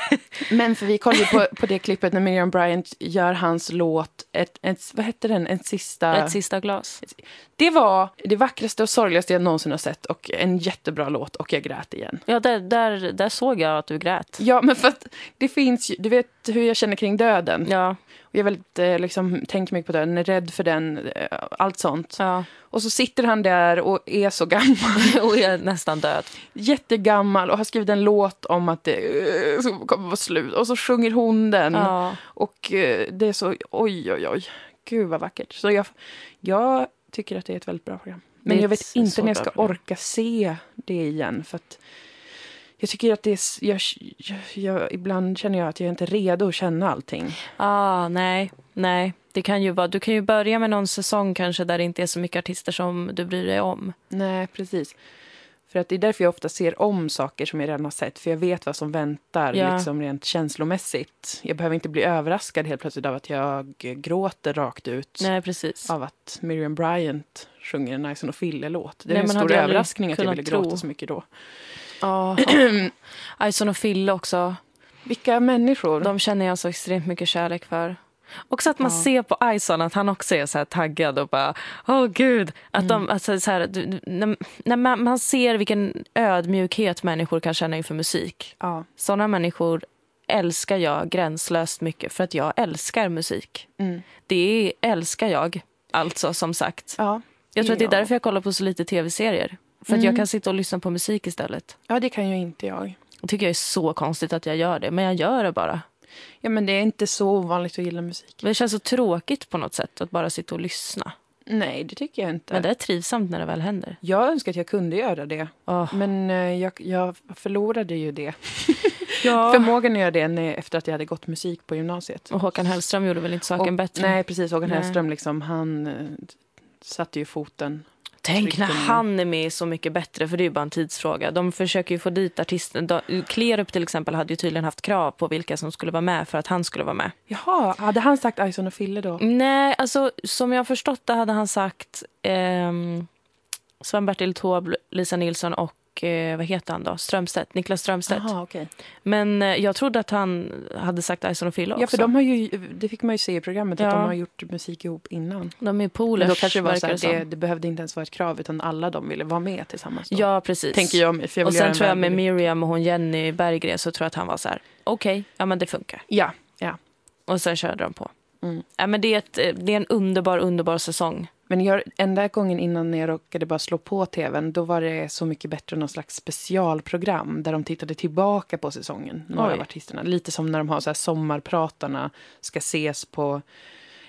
S1: men för vi kollade ju på, på det klippet när Miriam Bryant gör hans låt, ett, ett, vad hette den, en sista...
S2: Ett sista glas.
S1: det var det vackraste och sorgligaste jag någonsin har sett och en jättebra låt och jag grät igen.
S2: Ja, där, där, där såg jag att du grät.
S1: Ja, men för att det finns ju, du vet hur jag känner kring döden.
S2: Ja,
S1: Och jag är väldigt, eh, liksom, tänker mycket på döden, är rädd för den, eh, allt sånt.
S2: ja.
S1: Och så sitter han där och är så gammal,
S2: Och jag är nästan död.
S1: jättegammal och har skrivit en låt om att det eh, så kommer vara slut. Och så sjunger hon den.
S2: Ja.
S1: Och eh, det är så, oj, oj, oj. Gud vad vackert. Så jag, jag tycker att det är ett väldigt bra program. Men
S2: Det är
S1: jag
S2: ett
S1: vet
S2: så
S1: inte när jag
S2: bra
S1: ska
S2: program.
S1: orka se det igen. För att jag tycker att det är, s- jag, jag, jag, ibland känner jag att jag inte är redo att känna allting.
S2: Ah, nej, nej. Det kan ju vara, du kan ju börja med någon säsong kanske där det inte är så mycket artister som du bryr dig om.
S1: Nej, precis. För att det är därför jag ofta ser om saker som jag redan har sett. För jag vet vad som väntar
S2: Ja.
S1: liksom rent känslomässigt. Jag behöver inte bli överraskad helt plötsligt av att jag gråter rakt ut.
S2: Nej, precis.
S1: Av att Miriam Bryant sjunger en Ison och Fille-låt. Det
S2: Nej,
S1: är en
S2: man
S1: stor
S2: hade aldrig
S1: överraskning att jag
S2: kunnat
S1: ville
S2: tro.
S1: gråta så mycket då.
S2: Ja. Ah. Ison och Fille också.
S1: Vilka människor.
S2: De känner jag så extremt mycket kärlek för. Också att man ser på Ison att han också är så här taggad och bara åh gud. Att de, alltså, så här, du- du- när, när man, man ser vilken ödmjukhet människor kan känna inför musik.
S1: Ja.
S2: Sådana människor älskar jag gränslöst mycket för att jag älskar musik.
S1: mm.
S2: Det älskar jag, alltså som sagt.
S1: Ja. Mm.
S2: Jag tror att det är därför jag kollar på så lite tv-serier. För att jag kan sitta och lyssna på musik istället.
S1: Ja, det kan ju inte jag.
S2: Och tycker jag är så konstigt att jag gör det, men jag gör det bara.
S1: Ja, men det är inte så ovanligt att gilla musik.
S2: Men det känns så tråkigt på något sätt att bara sitta och lyssna.
S1: Nej, det tycker jag inte.
S2: Men det är trivsamt när det väl händer.
S1: Jag önskar att jag kunde göra det.
S2: Åh.
S1: Men eh, jag, jag förlorade ju det.
S2: Ja.
S1: Förmågan att göra det när, efter att jag hade gått musik på gymnasiet.
S2: Och Håkan Hellström gjorde väl inte saken
S1: Och-
S2: bättre?
S1: Nej, precis. Håkan
S2: Nej.
S1: Hellström, liksom, han eh, satte ju foten.
S2: Tänk när
S1: Tryckte ner.
S2: han är med i Så mycket bättre, för det är ju bara en tidsfråga. De försöker ju få dit artister. De- Klerup till exempel hade ju tydligen haft krav på vilka som skulle vara med för att han skulle vara med.
S1: Jaha, hade han sagt Ison och Fille då?
S2: Nej, alltså som jag har förstått det hade han sagt ehm, Sven-Bertil Taube, Lisa Nilsson och och eh, vad heter han då? Strömstedt, Niklas Strömstedt.
S1: Aha, okej.
S2: Men eh, jag trodde att han hade sagt Ison och Fille också.
S1: Ja, för de har ju, det fick man ju se i programmet,
S2: Ja.
S1: att de har gjort musik ihop innan.
S2: de är
S1: Men
S2: polers,
S1: då kanske det var så
S2: verkar
S1: här, det,
S2: som.
S1: det behövde inte ens vara ett krav, utan alla de ville vara med tillsammans. Då.
S2: Ja, precis.
S1: Tänker jag mig, för jag vill
S2: och
S1: göra
S2: sen
S1: en
S2: tror jag med
S1: välvillig-
S2: Miriam och hon Jenny Berggren så tror jag att han var så här, okej, ja men det funkar.
S1: Ja, ja.
S2: Och sen körde de på.
S1: Mm.
S2: Ja, men det, är ett, eh, det är en underbar, underbar säsong.
S1: Men jag, enda gången innan jag råkade bara slå på tvn, då var det Så mycket bättre, någon slags specialprogram där de tittade tillbaka på säsongen, några
S2: Oj.
S1: av artisterna. Lite som när de har så här sommarpratarna, ska ses på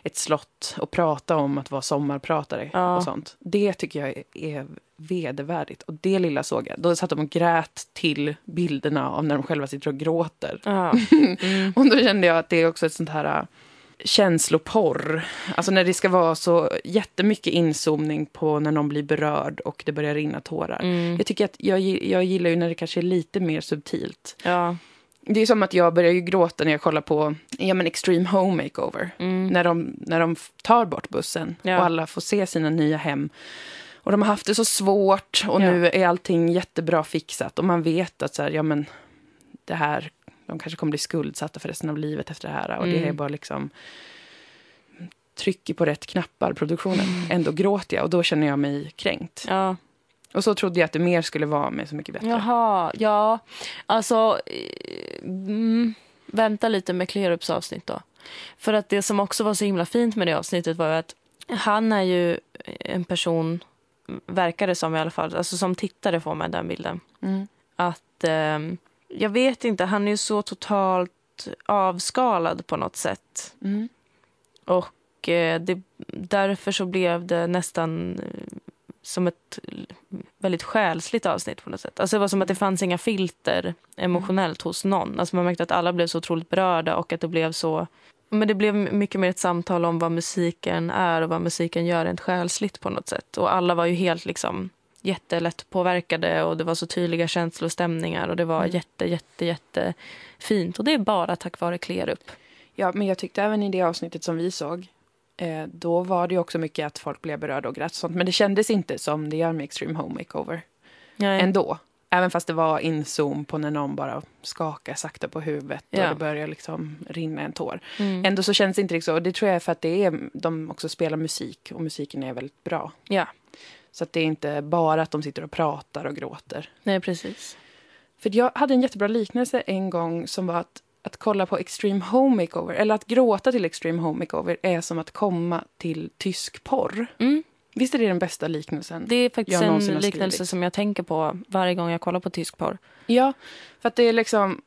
S1: ett slott och prata om att vara sommarpratare
S2: Ja.
S1: och sånt. Det tycker jag är vedervärdigt. Och det lilla såg jag. Då satt de och grät till bilderna av när de själva sitter och gråter.
S2: Ja. Mm.
S1: Och då kände jag att det är också ett sånt här äh, känsloporr. Alltså när det ska vara så jättemycket inzoomning på när någon blir berörd och det börjar rinna tårar.
S2: Mm.
S1: Jag tycker att jag, gi- jag gillar ju när det kanske är lite mer subtilt.
S2: Ja.
S1: Det är som att jag börjar ju gråta när jag kollar på ja, men Extreme Home Makeover.
S2: Mm.
S1: När, de, när de f- tar bort bussen
S2: Ja.
S1: och alla får se sina nya hem. Och de har haft det så svårt och
S2: Ja.
S1: nu är allting jättebra fixat. Och man vet att så här, ja men det här, de kanske kommer bli skuldsatta för resten av livet efter det här. Och det
S2: Mm.
S1: är bara liksom trycker på rätt knappar, produktionen. Ändå gråter jag och då känner jag mig kränkt.
S2: Mm. ja.
S1: Och så trodde jag att det mer skulle vara med Så mycket bättre.
S2: Jaha, ja. Alltså, eh, mm, vänta lite med Kleerups avsnitt då. För att det som också var så himla fint med det avsnittet var ju att han är ju en person, verkar det som i alla fall, alltså som tittare får man den bilden.
S1: Mm.
S2: Att, eh, jag vet inte, han är ju så totalt avskalad på något sätt.
S1: Mm.
S2: Och eh, det, därför så blev det nästan eh, som ett l- väldigt själsligt avsnitt på något sätt. Alltså det var som att det fanns inga filter emotionellt hos någon. Alltså man märkte att alla blev så otroligt berörda och att det blev så... Men det blev mycket mer ett samtal om vad musiken är och vad musiken gör rent själsligt på något sätt. Och alla var ju helt liksom jättelätt påverkade och det var så tydliga känslor och stämningar och det var
S1: Mm.
S2: jätte, jätte, jätte fint. Och det är bara tack vare Kleerup.
S1: Ja, men jag tyckte även i det avsnittet som vi såg, eh, då var det ju också mycket att folk blev berörda och grät och sånt. Men det kändes inte som det gör med Extreme Home Makeover
S2: Nej.
S1: ändå. Även fast det var inzoom på när någon bara skakar sakta på huvudet
S2: Ja.
S1: och det börjar liksom rinna en tår.
S2: Mm.
S1: Ändå så känns det inte riktigt så. Och det tror jag är för att det är, de också spelar musik och musiken är väldigt bra.
S2: Ja.
S1: Så att det är inte bara att de sitter och pratar och gråter.
S2: Nej, precis.
S1: För jag hade en jättebra liknelse en gång som var att, att kolla på Extreme Home Makeover, eller att gråta till Extreme Home Makeover är som att komma till tysk porr.
S2: Mm.
S1: Visst är det den bästa liknelsen?
S2: Det är faktiskt
S1: Jag
S2: en
S1: någonsin har
S2: liknelse
S1: skrivit.
S2: som jag tänker på varje gång jag kollar på tysk porr.
S1: Ja, för att det är liksom...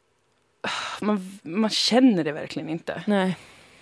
S1: ah, Man, man känner det verkligen inte.
S2: Nej.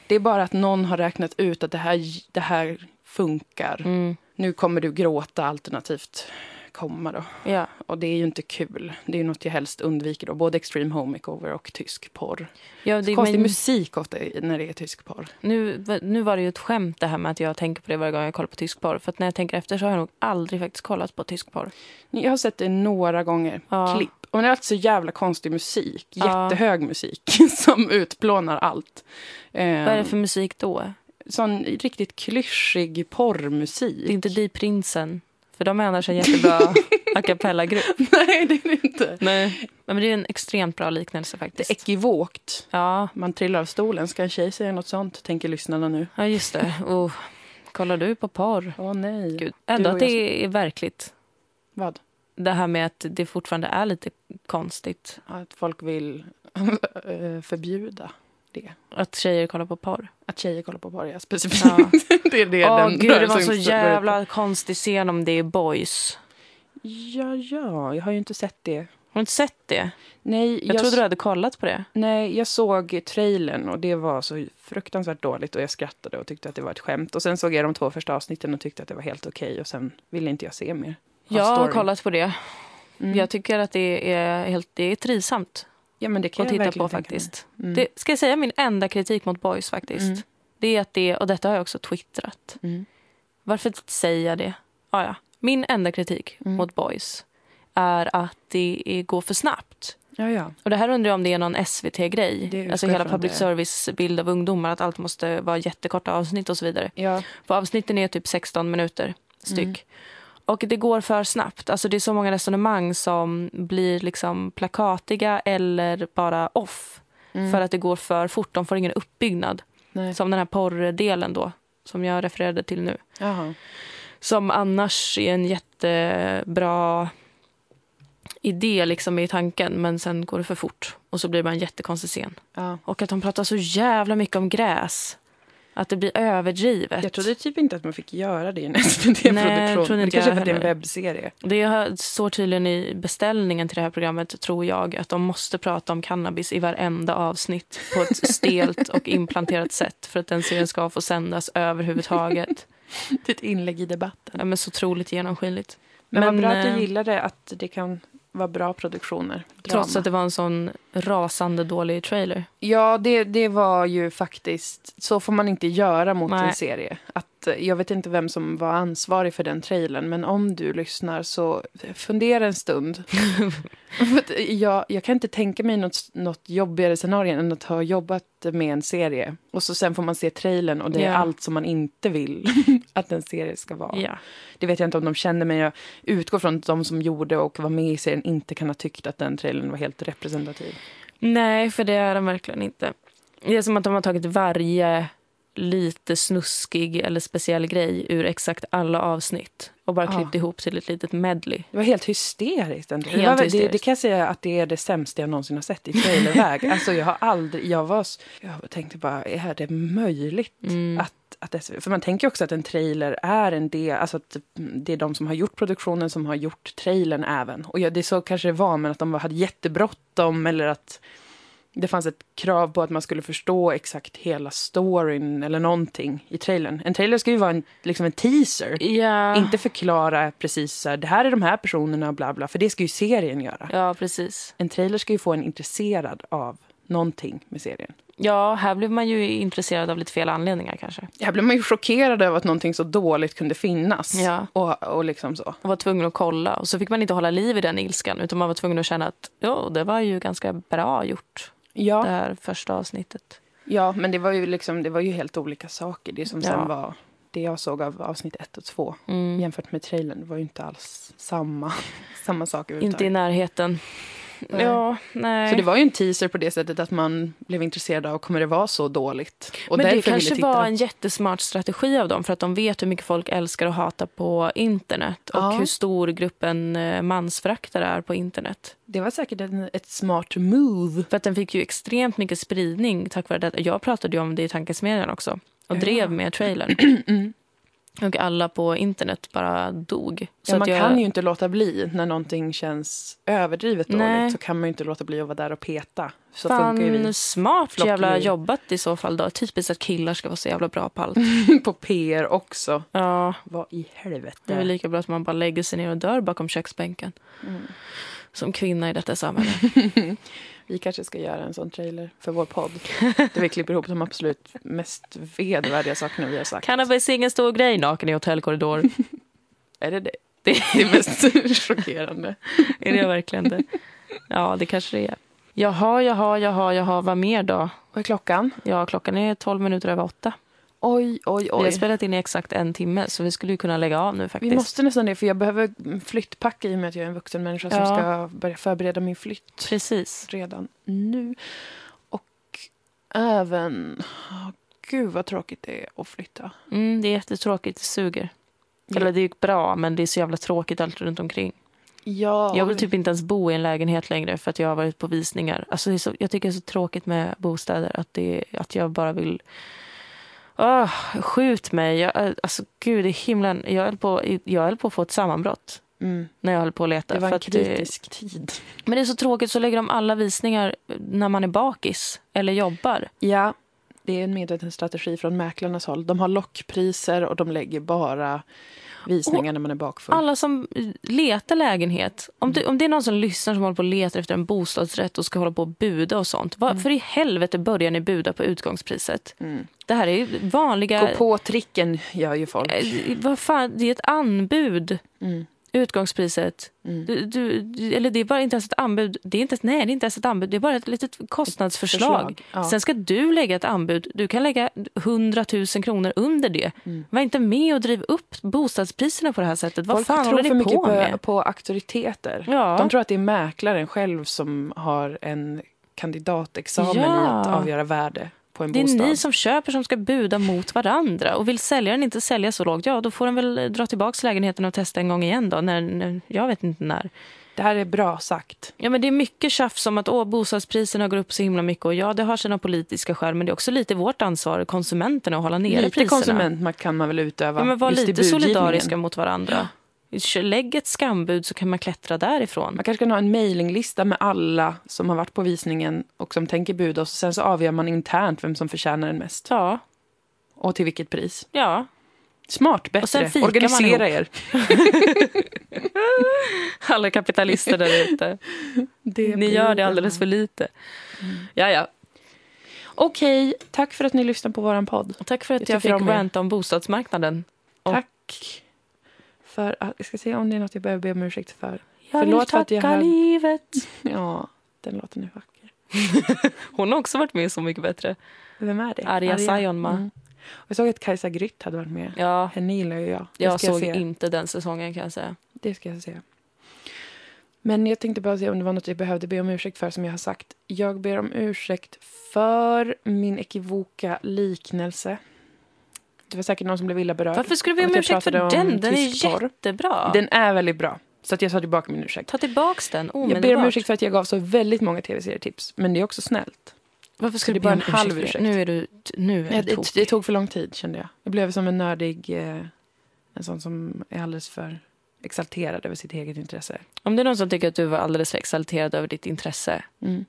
S1: Det är bara att någon har räknat ut att det här, det här funkar.
S2: Mm.
S1: Nu kommer du gråta alternativt komma då.
S2: Ja.
S1: Och det är ju inte kul. Det är ju något jag helst undviker då. Både Extreme Home Makeover och tysk porr.
S2: Ja, det,
S1: Konstig
S2: men,
S1: musik ofta i- när det är tysk porr.
S2: nu, nu var det ju ett skämt det här med att jag tänker på det varje gång jag kollar på tysk porr. För att när jag tänker efter så har jag nog aldrig faktiskt kollat på tysk porr.
S1: Jag har sett det några gånger.
S2: Ja.
S1: Klipp. Och det är alltid så jävla konstig musik.
S2: Ja.
S1: Jättehög musik som utplånar allt. Eh,
S2: Vad är det för musik då?
S1: Sån riktigt klyschig
S2: Det är
S1: porrmusik.
S2: inte Die Prinsen. För de är annars en jättebra a cappella-grupp.
S1: Nej, det är det inte.
S2: Nej. Men det är en extremt bra liknelse
S1: Det
S2: faktiskt.
S1: är ekivokt.
S2: ja.
S1: Man trillar av stolen. Ska en tjej säga något sånt? Tänker lyssnarna nu.
S2: ja, just det. Oh. Kollar du på porr?
S1: Åh nej.
S2: Gud.
S1: Du
S2: Ändå
S1: och
S2: att
S1: jag-
S2: det är verkligt.
S1: Vad?
S2: Det här med att det fortfarande är lite konstigt.
S1: Att folk vill eh, förbjuda det.
S2: Att tjejer kollar på porr.
S1: Att tjejer kollar på porr, ja, specifikt.
S2: Ja.
S1: det är det
S2: Åh
S1: den
S2: gud, det var
S1: rörelsen
S2: så
S1: står- börjar-
S2: jävla konstig scen om det är boys.
S1: Ja, ja, jag har ju inte sett det.
S2: Har du inte sett det?
S1: Nej,
S2: Jag, trodde du hade kollat på det.
S1: Nej, jag såg trailern och det var så fruktansvärt dåligt och jag skrattade och tyckte att det var ett skämt. Och sen såg jag de två första avsnitten och tyckte att det var helt okej och sen ville inte jag se mer. av
S2: Jag har
S1: storyn.
S2: kollat på det.
S1: Mm.
S2: Jag tycker att det är, helt, det är trivsamt
S1: ja, men det kan jag
S2: att titta
S1: verkligen
S2: på
S1: tänka mig.
S2: faktiskt.
S1: Mm.
S2: Det, ska jag säga min enda kritik mot boys faktiskt?
S1: Mm.
S2: Det är att det, och detta har jag också twittrat.
S1: Mm.
S2: Varför säger jag det? Ah, ja. Min enda kritik
S1: Mm.
S2: mot boys är att det är- går för snabbt.
S1: Ja, ja.
S2: Och det här undrar jag om det är någon
S1: Det
S2: SVT-grej.
S1: utgår
S2: Alltså hela
S1: jag från
S2: public
S1: det.
S2: service bild av ungdomar. Att allt måste vara jättekorta avsnitt och så vidare.
S1: ja. Mm.
S2: För avsnitten är typ 16 minuter styck. Och det går för snabbt. Alltså det är så många resonemang som blir liksom plakatiga eller bara off. För att det går för fort. De får ingen uppbyggnad.
S1: Mm. Nej.
S2: Som den här porrdelen då, som jag refererade till nu.
S1: Jaha.
S2: Som annars är en jättebra idé liksom i tanken, men sen går det för fort. Och så blir det bara en jättekonstig scen.
S1: Ja.
S2: Och att de pratar så jävla mycket om gräs. Att det blir överdrivet.
S1: Jag trodde typ inte att man fick göra det i en SVT-produktion.
S2: Nej, jag trodde
S1: det
S2: inte
S1: kanske är
S2: jag
S1: för att det är en
S2: heller.
S1: webbserie.
S2: Det har- står tydligen i beställningen till det här programmet, tror jag, att de måste prata om cannabis i varenda avsnitt på ett stelt och implanterat sätt för att den serien ska få sändas överhuvudtaget.
S1: Ditt inlägg i debatten.
S2: Ja, men så otroligt genomskinligt.
S1: Men, vad bra att
S2: eh,
S1: du gillade att det kan vara bra produktioner.
S2: Trots
S1: Drama.
S2: att det var en sån rasande dålig trailer.
S1: Ja, det, det var ju faktiskt... Så får man inte göra mot en
S2: Nej.
S1: serie. Att, eh, jag vet inte vem som var ansvarig för den trailern, men om du lyssnar så fundera en stund. För att jag, jag kan inte tänka mig något, något jobbigare scenario än att ha jobbat med en serie och så sen får man se trailern och det är
S2: Ja.
S1: allt som man inte vill att en serie ska vara.
S2: Ja.
S1: Det vet jag inte om de kände, men jag utgår från att de som gjorde och var med i serien inte kan ha tyckt att den trailern var helt representativ.
S2: Nej, för det är den verkligen inte. Det är som att de har tagit varje lite snuskig eller speciell grej ur exakt alla avsnitt och bara
S1: Ja.
S2: klippt ihop till ett litet medley.
S1: Det var helt hysteriskt. ändå.
S2: Helt
S1: det, var, Det,
S2: hysteriskt.
S1: det kan jag säga att det är det sämsta jag någonsin har sett i trailerväg. alltså jag har aldrig, jag var, s- jag tänkte bara, är det möjligt att, att det, för man tänker ju också att en trailer är en del, alltså att det är de som har gjort produktionen som har gjort trailern även. Och ja, det är så kanske det var, men att de var- hade jättebråttom eller att det fanns ett krav på att man skulle förstå exakt hela storyn eller någonting i trailern. En trailer ska ju vara en, liksom en teaser.
S2: Ja.
S1: Inte förklara precis så här, det här är de här personerna och bla bla, för det ska ju serien göra.
S2: Ja, precis.
S1: En trailer ska ju få en intresserad av någonting med serien.
S2: Ja, här blev man ju intresserad av lite fel anledningar kanske.
S1: Här blev man ju chockerad över att någonting så dåligt kunde finnas.
S2: Ja.
S1: Och, och liksom så.
S2: Och var tvungen att kolla. Och så fick man inte hålla liv i den ilskan utan man var tvungen att känna att jo, det var ju ganska bra gjort, det
S1: Ja,
S2: här första avsnittet.
S1: ja, men det var, ju liksom, det var ju helt olika saker. Det som
S2: Ja.
S1: sen var det jag såg av avsnitt ett och två
S2: Mm.
S1: jämfört med trailern det var ju inte alls samma, samma sak
S2: Inte i
S1: överhuvudtaget.
S2: närheten.
S1: Nej.
S2: Ja, nej.
S1: Så det var ju en teaser på det sättet att man blev intresserad av kommer det vara så dåligt? Och
S2: men det
S1: därför ville
S2: kanske
S1: titta.
S2: var en jättesmart strategi av dem för att de vet hur mycket folk älskar och hatar på internet och
S1: Ja.
S2: hur stor gruppen eh, mansföraktare är på internet.
S1: Det var säkert en, ett smart move.
S2: För att den fick ju extremt mycket spridning tack vare det. Jag pratade ju om det i tankesmedjan också och
S1: Ja.
S2: drev med trailern. Mm. Och alla på internet bara dog.
S1: Ja, man
S2: att jag-
S1: kan ju inte låta bli när någonting känns överdrivet
S2: Nej.
S1: dåligt. Så kan man ju inte låta bli att vara där och peta. Så funkar ju
S2: Fan,
S1: vi
S2: smart
S1: Flock
S2: jävla
S1: djur.
S2: jobbat i så fall då. Typiskt att killar ska vara så jävla bra på allt.
S1: på PR också.
S2: Ja,
S1: Vad i helvete.
S2: det är väl lika bra att man bara lägger sig ner och dör bakom köksbänken. Som kvinna i detta samhälle.
S1: Mm. Vi kanske ska göra en sån trailer för vår podd. där vi klipper ihop de absolut mest vedvärdiga sakerna vi har sagt.
S2: Cannabis är ingen stor grej, naken i hotellkorridor.
S1: Är det det? Det är det mest chockerande.
S2: är det verkligen det? Ja, det kanske det är. Jaha, jaha, jaha, jaha, vad mer då?
S1: Vad är klockan?
S2: Ja, klockan är 12 minuter över åtta.
S1: Oj, oj,
S2: Vi har
S1: oj.
S2: spelat in i exakt en timme, så vi skulle ju kunna lägga av nu faktiskt.
S1: Vi måste nästan det, för jag behöver flyttpacka i och med att jag är en vuxen människa som
S2: Ja.
S1: ska börja förbereda min flytt.
S2: Precis.
S1: redan nu. Och även... Oh, gud, vad tråkigt det är att flytta.
S2: Mm, det är jättetråkigt, det suger.
S1: Ja.
S2: Eller det är ju bra, men det är så jävla tråkigt allt runt omkring.
S1: Ja,
S2: Jag vill typ inte ens bo i en lägenhet längre för att jag har varit på visningar. Alltså det är så, jag tycker det är så tråkigt med bostäder att, det, att jag bara vill... Åh, skjut mig! Jag, alltså gud i himlen, jag höll, på, jag höll på att få ett sammanbrott
S1: mm,
S2: när jag höll på att leta.
S1: det var
S2: för
S1: en
S2: att det-
S1: kritisk tid.
S2: men det är så tråkigt, så lägger de alla visningar när man är bakis eller jobbar.
S1: Ja, det är en medveten strategi från mäklarnas håll. De har lockpriser och de lägger bara visningar när man är bakfull.
S2: Alla som eh, letar lägenhet. Om det, om det är någon som lyssnar som håller på och letar efter en bostadsrätt och ska hålla på och buda och sånt. Varför i helvete börjar ni buda på utgångspriset?
S1: Mm.
S2: Det här är ju vanliga...
S1: Gå på tricken gör ju folk.
S2: Eh, Vad fan, det är ett anbud.
S1: Mm.
S2: Utgångspriset. Du, du, eller det är bara inte ens ett anbud. Det är inte, ens- nej, det är inte ens ett anbud. Det är bara ett litet kostnadsförslag.
S1: Förslag, ja.
S2: Sen ska du lägga ett anbud. Du kan lägga 100 000 kronor under det.
S1: Mm.
S2: Var inte med och driv upp bostadspriserna på det här sättet. Vad
S1: Folk
S2: fan
S1: tror
S2: håller
S1: för
S2: ni
S1: mycket
S2: på
S1: på,
S2: med?
S1: på auktoriteter.
S2: Ja.
S1: De tror att det är mäklaren själv som har en kandidatexamen
S2: Ja.
S1: i att avgöra värde på en
S2: Det är
S1: bostad.
S2: ni som köper som ska buda mot varandra. Och vill säljaren inte sälja så lågt, ja då får den väl dra tillbaka lägenheten och testa en gång igen då. När, när, jag vet inte när.
S1: Det här är bra sagt.
S2: Ja, men det är mycket tjafs om att åh, bostadspriserna går upp så himla mycket. Och ja, det har sina politiska skäl, men det är också lite vårt ansvar, konsumenterna, att hålla nere
S1: Lite
S2: priserna.
S1: konsumentmakt kan man väl utöva.
S2: ja, men var
S1: just i
S2: lite
S1: budgivningen.
S2: solidariska mot varandra. Lägg ett skambud så kan man klättra därifrån.
S1: Man kanske kan ha en mailinglista med alla som har varit på visningen och som tänker bud och sen så avgör man internt vem som förtjänar den mest
S2: Ja,
S1: och till vilket pris.
S2: ja.
S1: Smart, bättre.
S2: sen fikar man
S1: Organisera er.
S2: Alla kapitalister där ute. Ni gör det alldeles för lite. Ja, ja.
S1: Okej, tack för att ni lyssnade på våran podd.
S2: Tack för att
S1: Jag
S2: jag,
S1: tycker
S2: fick
S1: om er.
S2: ranta om bostadsmarknaden. Och-
S1: Tack. För att, jag ska se om det är något jag behöver be om ursäkt för.
S2: Jag vill
S1: Förlåt för
S2: tacka
S1: att jag hade-
S2: livet.
S1: Ja, den låten är vacker.
S2: Hon har också varit med i Så mycket bättre.
S1: Vem är det?
S2: Arja Saijonmaa.
S1: Mm. Och Jag såg att Kajsa Grytt hade varit med.
S2: Ja,
S1: Henne gillar ju jag. Det
S2: jag
S1: ska jag
S2: såg
S1: se.
S2: inte den säsongen kan jag säga.
S1: Det ska jag se. Men jag tänkte bara se om det var något jag behövde be om ursäkt för som jag har sagt. Jag ber om ursäkt för min ekivoka liknelse. Det var säkert någon som blev illa berörd.
S2: Varför skulle vi
S1: av
S2: be om
S1: att jag
S2: ursäkt för
S1: pratade om
S2: den? Den är
S1: tysk porr.
S2: jättebra.
S1: Den är väldigt bra. Så att jag tar tillbaka min ursäkt.
S2: Ta tillbaks den
S1: Jag
S2: omedelbart.
S1: ber om ursäkt för att jag gav så väldigt många tv-serietips. Men det är också snällt.
S2: Varför
S1: det
S2: skulle
S1: är
S2: du
S1: bara
S2: be
S1: en
S2: om
S1: halv
S2: ursäkt?
S1: ursäkt.
S2: för det? Nu är du... Nu är
S1: Det, det,
S2: du tokig.
S1: tog för lång tid kände jag. Jag blev som en nördig, eh, en sån som är alldeles för exalterad över sitt eget intresse.
S2: Om det är någon som tycker att du var alldeles för exalterad över ditt intresse,
S1: Mm.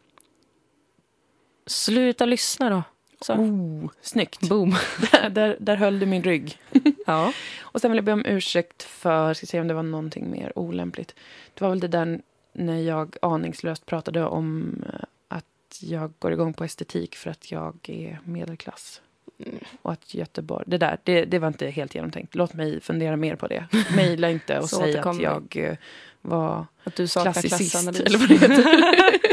S2: sluta lyssna då. Så.
S1: Oh, snyggt.
S2: Boom.
S1: där, där höll du min rygg.
S2: Ja.
S1: Och sen vill jag be om ursäkt för, ska se om det var någonting mer olämpligt. Det var väl det där när jag aningslöst pratade om eh, att jag går igång på estetik för att jag är medelklass.
S2: Mm.
S1: Och att Göteborg, det där, det, det var inte helt genomtänkt. Låt mig fundera mer på det. Mejla inte och
S2: Så
S1: säg att
S2: återkommer.
S1: jag eh, var
S2: Att du saknar
S1: klassicist.
S2: klassanalys.
S1: Eller vad det heter.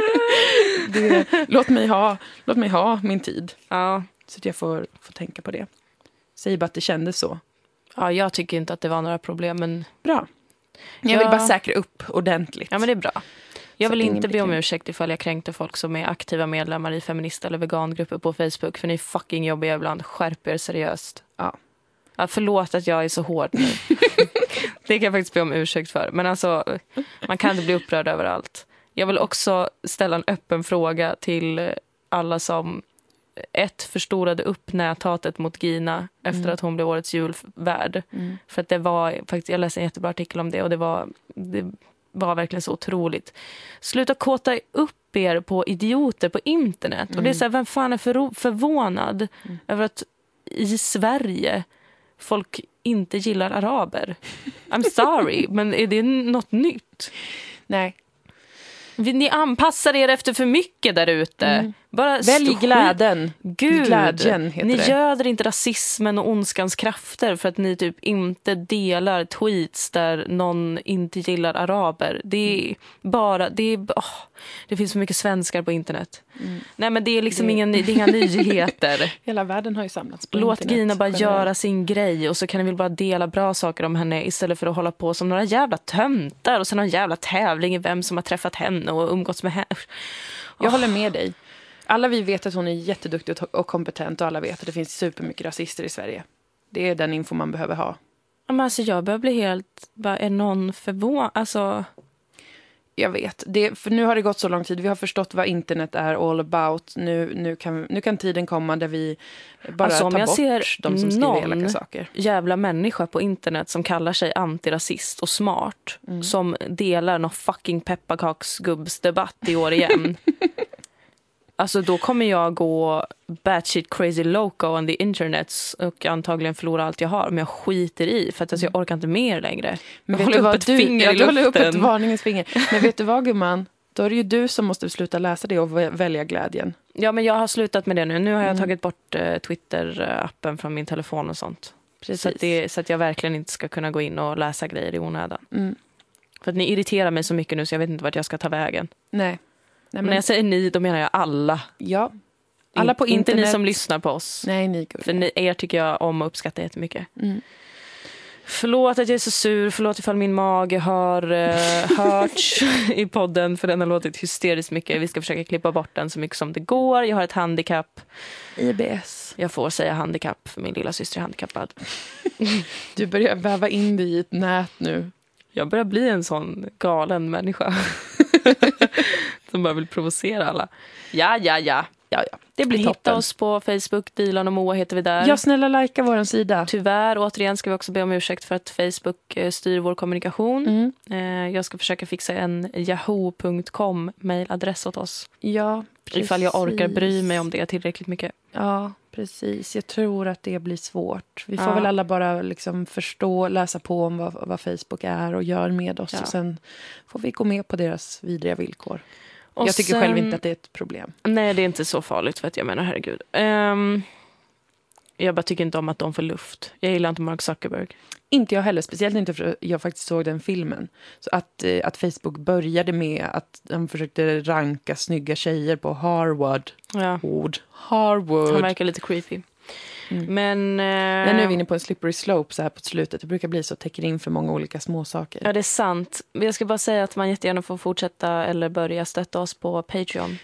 S1: det, låt, mig ha, låt mig ha min tid
S2: Ja.
S1: så att jag får, får tänka på det. Säg bara att det kändes så.
S2: ja, jag tycker inte att det var några problem, men
S1: Bra. Jag vill
S2: Ja.
S1: bara säkra upp ordentligt.
S2: Ja, men det är bra. Jag
S1: Så
S2: vill
S1: att ingen
S2: inte
S1: blir
S2: be om
S1: kränkt.
S2: ursäkt ifall jag kränkte folk som är aktiva medlemmar i feminist eller vegangrupper på Facebook, för ni är fucking jobbiga ibland. Skärp er seriöst.
S1: Ja.
S2: Ja, förlåt att jag är så hård nu. det kan jag faktiskt be om ursäkt för. Men alltså, man kan inte bli upprörd över allt. Jag vill också ställa en öppen fråga till alla som ett förstorade upp näthatet mot Gina efter
S1: Mm.
S2: att hon blev årets julvärd. För att det var, faktiskt, jag läste en jättebra artikel om det och det var, det var verkligen så otroligt. Sluta kåta upp er på idioter på internet. Och det är så här, vem fan är förro- förvånad över att i Sverige folk inte gillar araber? I'm sorry, men är det något nytt?
S1: Nej.
S2: Vi- Ni anpassar er efter för mycket där ute. Bara
S1: Välj
S2: skit-
S1: glädjen.
S2: Gud,
S1: Glädjen heter
S2: ni
S1: det.
S2: göder inte rasismen och ondskans krafter för att ni typ inte delar tweets där någon inte gillar araber. Det är
S1: Mm.
S2: bara, det är, åh, det finns så mycket svenskar på internet. Nej men det är
S1: Mm.
S2: liksom
S1: Det-
S2: Ingen, det är inga nyheter.
S1: Hela världen har ju samlats på
S2: Låt
S1: internet.
S2: Gina bara
S1: generellt.
S2: göra sin grej och så kan ni väl bara dela bra saker om henne istället för att hålla på som några jävla töntar och sen någon jävla tävling i vem som har träffat henne och umgåtts med henne.
S1: Jag håller med dig. Alla vi vet att hon är jätteduktig och to- och kompetent och alla vet att det finns supermycket rasister i Sverige. Det är den info man behöver ha.
S2: Ja, Men alltså jag börjar bli helt, bara, är någon förvånad? Alltså,
S1: Jag vet. Det, för nu har det gått så lång tid. Vi har förstått vad internet är all about. Nu, nu, kan, nu kan tiden komma där vi bara
S2: Alltså, om
S1: tar
S2: jag
S1: bort
S2: ser
S1: de som skriver
S2: någon-
S1: elaka saker.
S2: jävla människa på internet som kallar sig antirasist och smart som delar någon fucking pepparkaksgubbsdebatt i år igen. alltså då kommer jag gå batshit crazy loco on the internet och antagligen förlora allt jag har. Men jag skiter i för att alltså, jag orkar inte mer längre.
S1: Men
S2: jag håller upp ett finger
S1: ja,
S2: i
S1: du håller upp ett
S2: luften.
S1: varningens finger. Men vet du vad, gumman? Då är det ju du som måste sluta läsa det och vä- välja glädjen.
S2: Ja men jag har slutat med det nu. Nu har jag tagit bort eh, Twitter-appen från
S1: Mm,
S2: min telefon och sånt. Så att, det, så att jag verkligen inte ska kunna gå in och läsa grejer i onödan. För att ni irriterar mig så mycket nu så jag vet inte vart jag ska ta vägen.
S1: Nej. Nej
S2: Men när
S1: men,
S2: jag säger ni, då menar jag alla.
S1: ja. Alla på
S2: inte
S1: internet.
S2: ni som lyssnar på oss.
S1: Nej, ni gulliga.
S2: För ni, er tycker jag om och uppskattar jättemycket.
S1: Mm.
S2: Förlåt att jag är så sur, förlåt ifall min mage har eh, hörts i podden för den har låtit hysteriskt mycket. Vi ska försöka klippa bort den så mycket som det går. Jag har ett handikapp.
S1: IBS.
S2: Jag får säga handikapp för min lilla syster är handikappad.
S1: Du börjar väva in dig i ett nät nu.
S2: Jag börjar bli en sån galen människa. Som bara vill provocera alla. Ja, ja, ja.
S1: Ja, ja.
S2: Det blir
S1: Hitta
S2: Hitta
S1: oss
S2: oss på Facebook, Dilan och Moa heter vi där.
S1: Ja, snälla lajka vår sida.
S2: Tyvärr, återigen, ska vi också be om ursäkt för att Facebook eh, styr vår kommunikation.
S1: Mm.
S2: Eh, Jag ska försöka fixa en yahoo.com mejladress åt oss.
S1: Ja, precis.
S2: Ifall jag orkar bry mig om det tillräckligt mycket.
S1: Ja, precis. Jag tror att det blir svårt. Vi får
S2: Ja.
S1: väl alla bara liksom förstå, läsa på om vad, vad Facebook är och gör med oss.
S2: Ja.
S1: Och sen får vi gå med på deras vidriga villkor.
S2: Och
S1: jag tycker
S2: sen-
S1: själv inte att det är ett problem.
S2: Nej, det är inte så farligt för att jag menar, herregud. Ehm, jag bara tycker inte om att de får luft. Jag gillar inte Mark Zuckerberg.
S1: Inte jag heller, speciellt inte för jag faktiskt såg den filmen. Så att, eh, att Facebook började med att de försökte ranka snygga tjejer på Harvard.
S2: Ja,
S1: Ord.
S2: han
S1: Harvard.
S2: verkar lite creepy.
S1: Mm.
S2: Men... eh,
S1: Men nu är vi inne på en slippery slope så här på slutet. Det brukar bli så, täcker in för många olika småsaker.
S2: Ja, det är sant. Men Jag ska bara säga att man jättegärna får fortsätta eller börja stötta oss på Patreon.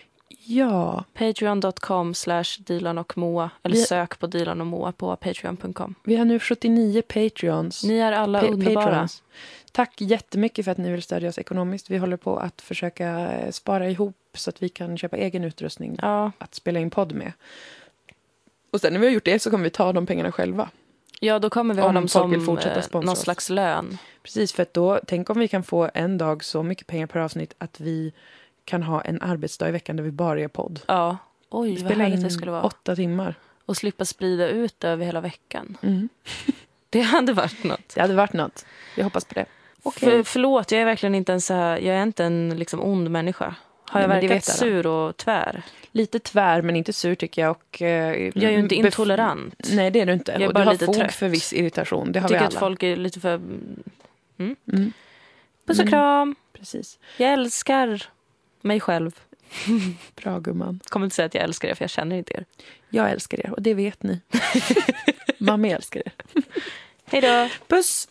S1: Ja,
S2: Patreon.com slash Dilan och Moa. Eller
S1: Vi-
S2: sök på Dilan och Moa på Patreon.com.
S1: vi har nu 79 Patreons.
S2: Ni är alla
S1: Pa-
S2: underbara.
S1: Patrons. Tack jättemycket för att ni vill stödja oss ekonomiskt. Vi håller på att försöka eh, spara ihop så att vi kan köpa egen utrustning
S2: Ja.
S1: att spela in podd med. Och sen när vi har gjort det så kommer vi ta de pengarna själva.
S2: ja, då kommer vi ha
S1: Om
S2: dem
S1: folk
S2: som
S1: vill fortsätta
S2: eh,
S1: sponsra
S2: någon
S1: oss.
S2: slags lön.
S1: Precis, för att då, tänk om vi kan få en dag så mycket pengar per avsnitt att vi kan ha en arbetsdag i veckan där vi bara gör podd.
S2: Ja. Oj, vad
S1: Spela
S2: härligt
S1: in
S2: det skulle vara.
S1: åtta timmar.
S2: Och slippa sprida ut det över hela veckan.
S1: Mm.
S2: Det hade varit något.
S1: Det hade varit något. Jag hoppas på det.
S2: För, förlåt, jag är verkligen inte en så här, jag är inte en liksom ond människa. Har
S1: Nej,
S2: jag
S1: men det
S2: verkat
S1: vet Mm. jag då.
S2: sur och tvär?
S1: Lite tvär, men inte sur tycker jag. Och, eh,
S2: Jag är ju inte
S1: bef-
S2: intolerant.
S1: Nej, det är du inte.
S2: Jag är
S1: och
S2: bara
S1: du har
S2: lite
S1: fog
S2: trött.
S1: för viss irritation. Det har
S2: Jag
S1: vi
S2: tycker
S1: alla.
S2: att folk är lite för... Mm.
S1: Mm.
S2: Puss och
S1: Mm.
S2: kram!
S1: Precis.
S2: Jag älskar mig själv.
S1: Bra gumman.
S2: Kommer inte säga att jag älskar er, för jag känner inte er.
S1: Jag älskar er och det vet ni. Mamma älskar er.
S2: Hej då!
S1: Puss!